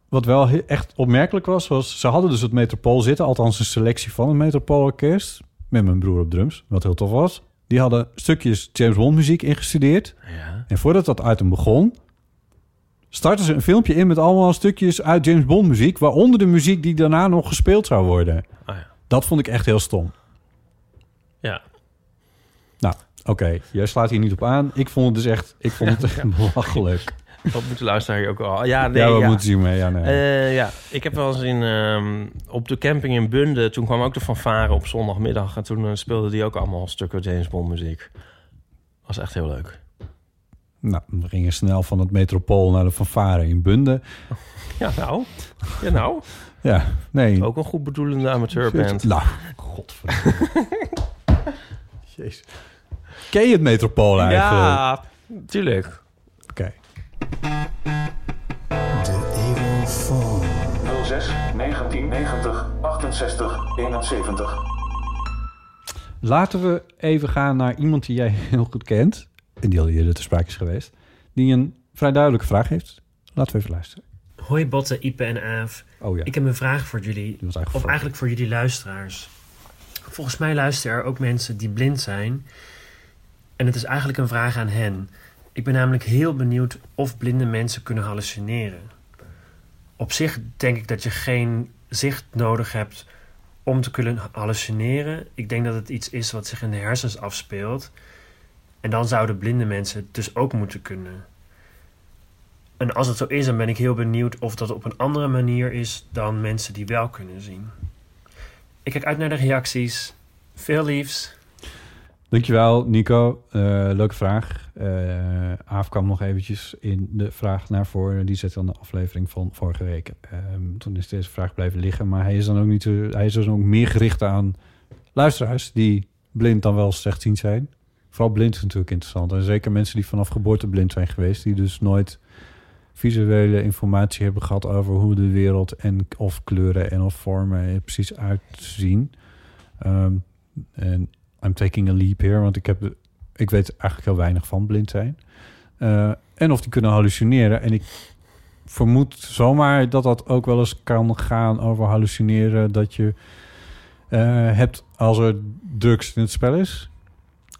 Wat wel he- echt opmerkelijk was, was... ze hadden dus het Metropool zitten. Althans een selectie van het Metropoolorkest. Met mijn broer op drums, wat heel tof was. Die hadden stukjes James Bond muziek ingestudeerd. En voordat dat item begon... startten ze een filmpje in met allemaal stukjes uit James Bond muziek... waaronder de muziek die daarna nog gespeeld zou worden.
Ah, ja.
Dat vond ik echt heel stom.
Ja.
Nou, oké. Jij slaat hier niet op aan. Ik vond het dus echt... Ik vond
(laughs)
het echt belachelijk.
Dat moet de Oh, luisteraar hier ook al. Ja, (laughs) nee,
Ja, we
ja.
moeten zien, maar ja, nee.
Eh, ja, ik heb wel eens in, ehm, op de camping in Bunde... toen kwam ook de fanfare op zondagmiddag... en toen speelden speelde die ook allemaal stukken James Bond muziek. was echt heel leuk.
Nou, we gingen snel van het metropool naar de fanfare in Bunde.
Ja, nou. Ja, nou.
Ja, nee.
Ook een goed bedoelende amateurband.
Nou, godverdomme. (laughs) Jezus. Ken je het metropool eigenlijk?
Ja, tuurlijk.
Oké.
De Eeuwenfoon. 06 1990 68 71.
Laten we even gaan naar iemand die jij heel goed kent. En die al eerder te sprake is geweest. Die een vrij duidelijke vraag heeft. Laten we even luisteren.
Hoi Botte, Ipe en Aaf.
Oh ja.
Ik heb een vraag voor jullie. of eigenlijk voor jullie luisteraars. Volgens mij luisteren er ook mensen die blind zijn. En het is eigenlijk een vraag aan hen. Ik ben namelijk heel benieuwd of blinde mensen kunnen hallucineren. op zich denk ik dat je geen zicht nodig hebt om te kunnen hallucineren. Ik denk dat het iets is wat zich in de hersens afspeelt. En dan zouden blinde mensen het dus ook moeten kunnen. En als het zo is, dan ben ik heel benieuwd of dat op een andere manier is dan mensen die wel kunnen zien. Ik kijk uit naar de reacties. Veel liefs.
Dankjewel, Nico. Eh, leuke vraag. Eh Aaf kwam nog eventjes in de vraag naar voren. Die zit aan de aflevering van vorige week. Ehm, toen is deze vraag blijven liggen. Maar hij is dan ook, niet, zo- hij is dus ook meer gericht aan luisteraars die blind dan wel slechtziend zijn. Vooral blind is natuurlijk interessant. En zeker mensen die vanaf geboorte blind zijn geweest. Die dus nooit visuele informatie hebben gehad over hoe de wereld en of kleuren en of vormen er precies uitzien. Ehm, en I'm taking a leap here, want ik, heb, ik weet eigenlijk heel weinig van blind zijn. Eh, en of die kunnen hallucineren. En ik vermoed zomaar dat dat ook wel eens kan gaan over hallucineren. Dat je eh, hebt als er drugs in het spel is.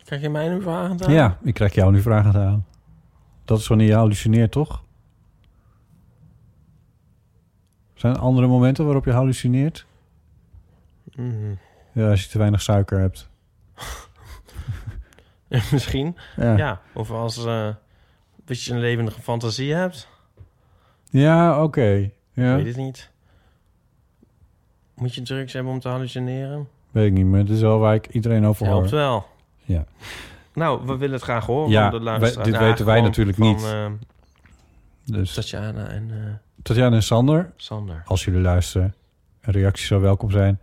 Krijg je mij nu vragen
Ja, ik krijg jou nu vragen aan. Dat is wanneer je hallucineert, toch? Zijn er andere momenten waarop je hallucineert?
Mhm.
Ja, als je te weinig suiker hebt.
(laughs) Misschien.
Ja.
Ja. Of als eh dat je een levendige fantasie hebt.
Ja, oké.
Ik
Ja.
weet het niet. Moet je drugs hebben om te hallucineren?
Weet ik niet, maar het is wel waar ik iedereen over
Het
hoor.
helpt wel.
Ja.
Nou, we willen het graag horen
Ja,
van de
wij-
luisteraars.
dit
Nou,
weten wij
gewoon
natuurlijk
van,
niet.
eh,
Dus.
Tatjana en... eh,
Tatjana en Sander.
Sander.
Als jullie luisteren, een reactie zou welkom zijn.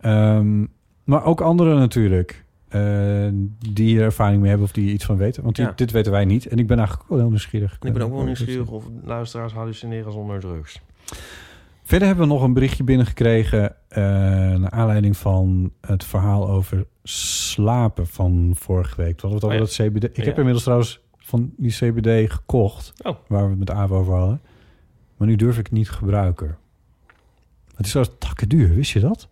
Ehm, maar ook anderen natuurlijk. eh, die hier ervaring mee hebben of die hier iets van weten. Want die-
Ja.
dit weten wij niet. En ik ben eigenlijk wel heel nieuwsgierig. Eh, dus-
ik ben ook wel nieuwsgierig of luisteraars hallucineren zonder drugs.
Verder hebben we nog een berichtje binnengekregen. eh naar aanleiding van het verhaal over slapen van vorige week. Toen hadden we het
Oh
over
ja.
dat CBD. Ik
Ja.
heb inmiddels trouwens van die CBD gekocht.
Oh.
Waar we het met Aave over hadden. Maar nu durf ik het niet te gebruiken. Het is trouwens takken duur, wist je dat?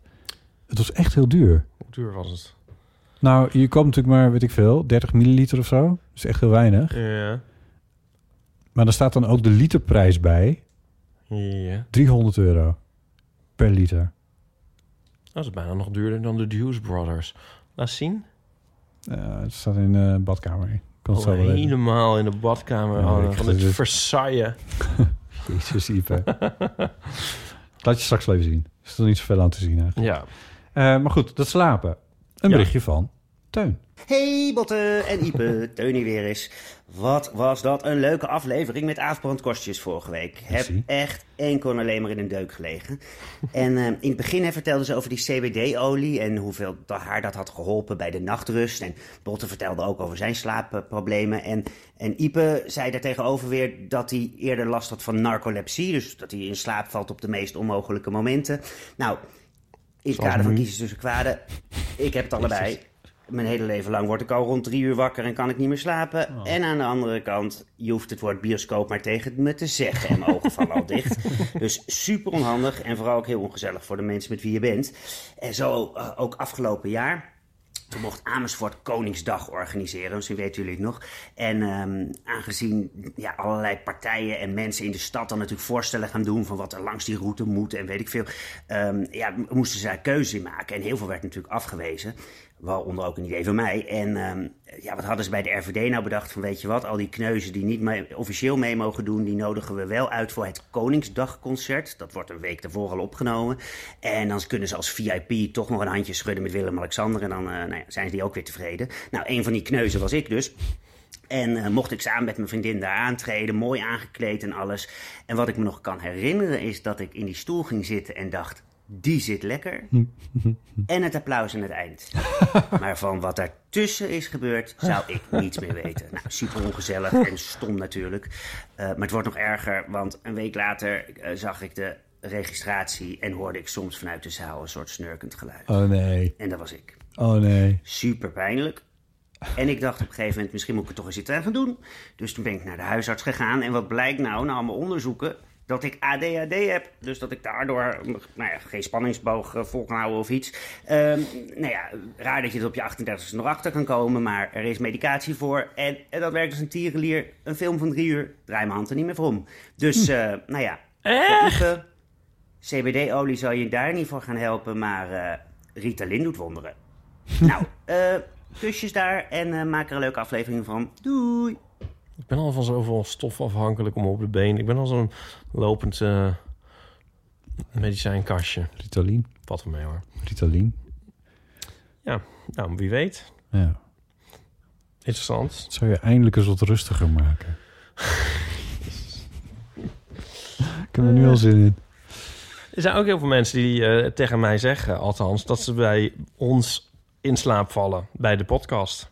Het was echt heel duur.
Hoe duur was het?
Nou, je komt natuurlijk maar, weet ik veel, 30 milliliter of zo. Dat is echt heel weinig.
Ja.
Maar er staat dan ook de literprijs bij.
Ja.
300 euro per liter.
Dat is bijna nog duurder dan de Deuce Brothers. Laat zien.
Eh, het staat in de badkamer. Ik kan het
Oh,
zo wel even.
helemaal in de badkamer.
Ja,
hangen
ik
van
vind
het
het-
Versailles.
(laughs) Jezus, Ipe. Laat je straks wel even zien. Er is er niet zoveel aan te zien eigenlijk.
Ja.
Eh, maar goed, dat slapen. Een
Ja.
berichtje van Teun.
Hey Botte en
(laughs)
Ipe, Teunie weer eens. Wat was dat een leuke aflevering met Aafbrandkostjes vorige week. Heb echt één kon alleen maar in een deuk gelegen. En eh, in het begin hè, vertelde ze over die CBD-olie en hoeveel da- haar dat had geholpen bij de nachtrust. En Botte vertelde ook over zijn slaapproblemen. En, en Ipe zei daartegenover weer dat hij eerder last had van narcolepsie. Dus dat hij in slaap valt op de meest onmogelijke momenten. Nou, in het
Zoals
kader van
nu.
kiezen tussen kwaden, ik heb het allebei.
Jezus.
Mijn hele leven lang word ik al rond drie uur wakker en kan ik niet meer slapen. En aan de andere kant, je hoeft het woord bioscoop maar tegen me te zeggen. En mijn ogen vallen al dicht. Dus super onhandig en vooral ook heel ongezellig voor de mensen met wie je bent. En zo eh, ook afgelopen jaar. Toen mocht Amersfoort Koningsdag organiseren, misschien weten jullie het nog. En ehm, aangezien ja, allerlei partijen en mensen in de stad dan natuurlijk voorstellen gaan doen van wat er langs die route moet en weet ik veel, ehm, ja, m- moesten ze daar keuze in maken. En heel veel werd natuurlijk afgewezen, waaronder ook een idee van mij. En ehm, ja, wat hadden ze bij de RVD nou bedacht van weet je wat, al die kneuzen die niet mee- officieel mee mogen doen, die nodigen we wel uit voor het Koningsdagconcert. Dat wordt een week daarvoor al opgenomen. En dan kunnen ze als VIP toch nog een handje schudden met Willem-Alexander. En dan eh, nou ja, zijn ze die ook weer tevreden. Nou, een van die kneuzen was ik dus. En eh, mocht ik samen met mijn vriendin daar aantreden, mooi aangekleed en alles. En wat ik me nog kan herinneren is dat ik in die stoel ging zitten en dacht: die zit lekker. En het applaus aan het eind. Maar van wat daartussen is gebeurd, zou ik niets meer weten. Nou, super ongezellig en stom natuurlijk. Eh, maar het wordt nog erger, want een week later eh, zag ik de registratie en hoorde ik soms vanuit de zaal een soort snurkend geluid.
Oh nee.
En dat was ik.
Oh nee.
Super pijnlijk. En ik dacht op een gegeven moment, misschien moet ik het toch eens iets aan gaan doen. Dus toen ben ik naar de huisarts gegaan. En wat blijkt nou, na allemaal onderzoeken, dat ik ADHD heb. Dus dat ik daardoor nou ja, geen spanningsboog eh, vol kan houden of iets. Ehm, nou ja, raar dat je er op je 38e nog achter kan komen. Maar er is medicatie voor. En, en dat eh, werkt als een tierenlier. Een film van drie uur, draai mijn hand er niet meer voor om. Dus eh, nou ja, Echt? CBD-olie zal je daar niet voor gaan helpen, maar eh, Ritalin doet wonderen. nou, eh, kusjes daar en eh, maak er een leuke aflevering van. Doei!
Ik ben al van zoveel stof afhankelijk om op de been. Ik ben al zo'n lopend eh, medicijnkastje.
Ritalin.
Wat ermee hoor.
Ritalin.
Ja, nou wie weet.
Ja.
Interessant.
Dat zou je eindelijk eens wat rustiger
(laughs)
maken. Ik heb er nu al zin in.
Er zijn ook heel veel mensen die eh, tegen mij zeggen, althans, dat ze bij ons in slaap vallen bij de podcast.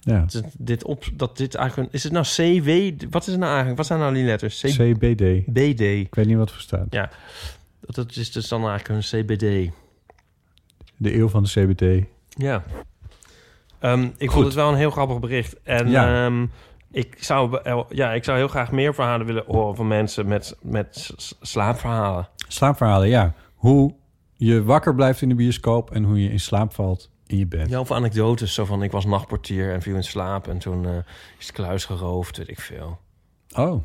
Ja.
Dat, het- dit op, dat dit eigenlijk een- is het nou CW? Wat is het nou eigenlijk? Wat zijn nou die letters? C-
CBD.
BD. Ik
weet niet wat voor staat.
Ja, dat, dat is dus dan eigenlijk een CBD.
De eeuw van de CBD.
Ja. Ehm, ik
Goed.
vond het wel een heel grappig bericht. En
Ja.
ehm, ik, zou, wel- eh, ja, ik zou heel graag meer verhalen willen horen van mensen met, met s- s- slaapverhalen.
Slaapverhalen, ja. Hoe je wakker blijft in de bioscoop en hoe je in slaap valt in je bed.
Ja, of anekdotes. Zo van, ik was nachtportier en viel in slaap... en toen eh, is de kluis geroofd, weet ik veel.
Oh.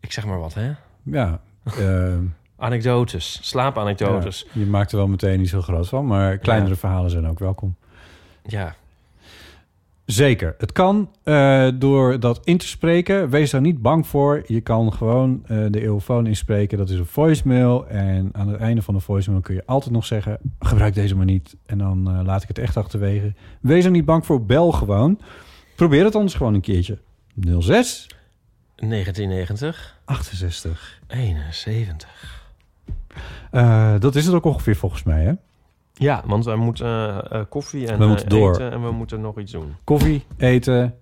Ik zeg maar wat, hè?
(laughs) Ja. ehm,
Anekdotes, slaapanekdotes.
ja, je maakt er wel meteen niet zo groot van, maar kleinere
Ja.
verhalen zijn ook welkom.
Ja.
Zeker. Het kan eh, door dat in te spreken. Wees daar niet bang voor. Je kan gewoon eh, de eeuwfoon inspreken. Dat is een voicemail. En aan het einde van de voicemail kun je altijd nog zeggen... gebruik deze maar niet. En dan eh, laat ik het echt achterwege. Wees er niet bang voor. Bel gewoon. Probeer het anders gewoon een keertje. 06
1990,
68.
71.
Eh, dat is het ook ongeveer volgens mij, hè?
Ja, want wij moeten eh, eh, koffie en
We moeten
eh,
door.
eten... en we moeten nog iets doen.
koffie eten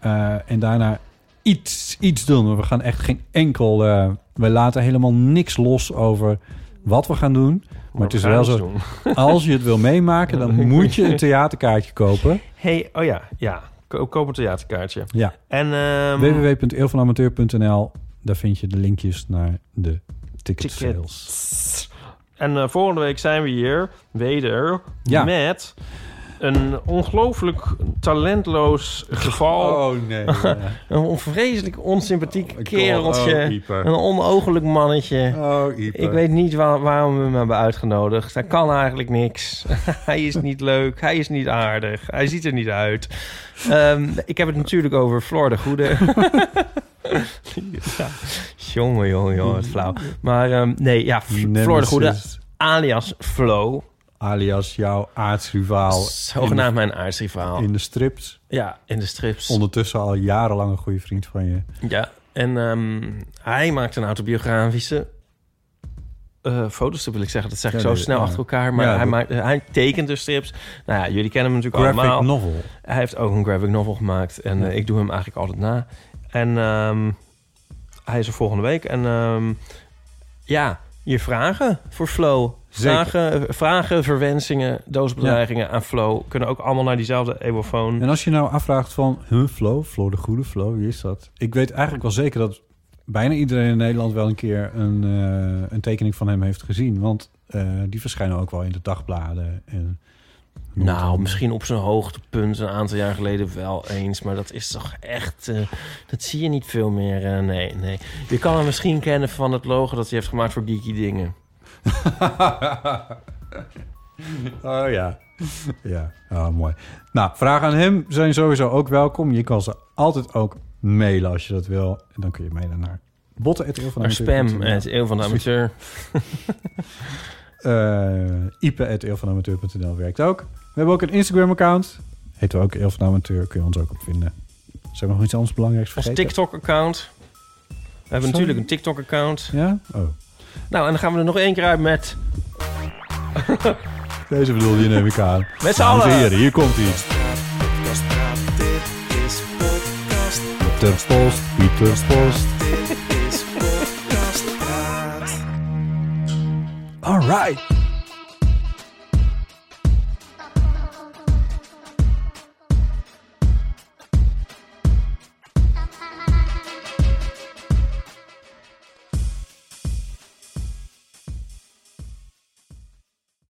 eh, en daarna iets, iets doen. Maar we gaan echt geen enkel... eh, we laten helemaal niks los over wat we gaan doen. Maar het
we
is
gaan
wel
iets
zo, als je het wil meemaken, (laughs) dan moet je een theaterkaartje kopen.
hey, oh ja, ja. Ko- Koop een theaterkaartje.
Ja.
En ehm,
www.eelvanamateur.nl, daar vind je de linkjes naar de
Tickets.
ticket sales.
En eh, volgende week zijn we hier weder
Ja.
met een ongelooflijk talentloos geval.
Oh, (laughs) nee.
een onvreselijk onsympathiek
oh,
kereltje.
Ieper.
een onogelijk mannetje.
Oh, Ieper.
Ik weet niet wa- waarom we hem hebben uitgenodigd. Hij kan eigenlijk niks. (laughs) hij is niet leuk. Hij is niet aardig. Hij ziet er niet uit. Ehm, ik heb het natuurlijk over Floor de Goede. (laughs) ja. Jongen, jongen, jongen, wat flauw. Maar ehm, nee, ja, F-
Nemesis.
Floor de Goede, alias Flo.
Alias jouw aardsrivaal.
Zogenaamd mijn aardsrivaal.
In de strips.
Ja, in de strips.
Ondertussen al jarenlang een goede vriend van je.
Ja, en ehm, hij maakt een autobiografische eh, foto's, wil ik zeggen. Dat zeg ik
Ja,
zo
nee,
snel
ja.
achter elkaar. Maar
Ja,
hij,
dat-
maakt, hij tekent dus strips. Nou ja, jullie kennen hem natuurlijk
Graphic
allemaal.
novel.
Hij heeft ook een graphic novel gemaakt. En eh, ik doe hem eigenlijk altijd na. En ehm, hij is er volgende week. En ehm, ja, je vragen voor Flo.
Zeker.
Vragen, vragen, verwensingen, doosbedreigingen aan Flo... kunnen ook allemaal naar diezelfde evofoon.
En als je nou afvraagt van hun flow, Floor de Goede Flow, wie is dat? Ik weet eigenlijk wel zeker dat bijna iedereen in Nederland wel een keer een, eh, een tekening van hem heeft gezien. Want eh, die verschijnen ook wel in de dagbladen. En
Nou, misschien op zijn hoogtepunt een aantal jaar geleden wel eens. Maar dat is toch echt... eh, dat zie je niet veel meer. eh, nee, nee. Je kan hem misschien kennen van het logo dat hij heeft gemaakt voor Geeky Dingen.
(laughs) Oh ja. ja, oh, mooi. Nou, vragen aan hem zijn sowieso ook welkom. Je kan ze altijd ook mailen als je dat wil. En dan kun je mailen naar botten.eeuwvanamateur.nl.
Maar spam, eh, het eeuw van de amateur.
eh ipe.eelvanamateur.nl werkt ook. We hebben ook een Instagram-account. Heet we ook Eel van Amateur. Kun je ons ook op vinden. Zijn we nog iets anders belangrijks
Ons
vergeten?
TikTok-account. We hebben
Sorry?
natuurlijk een TikTok-account.
Ja? Oh.
Nou, en dan gaan we er nog één keer uit met...
Deze bedoelde je neem ik aan.
Met z'n
Dames en
allen.
heren, hier komt ie.
Podcastpraat, dit is podcast.
Pieter Post, Pieter Post.
Dit is podcastpraat.
All right.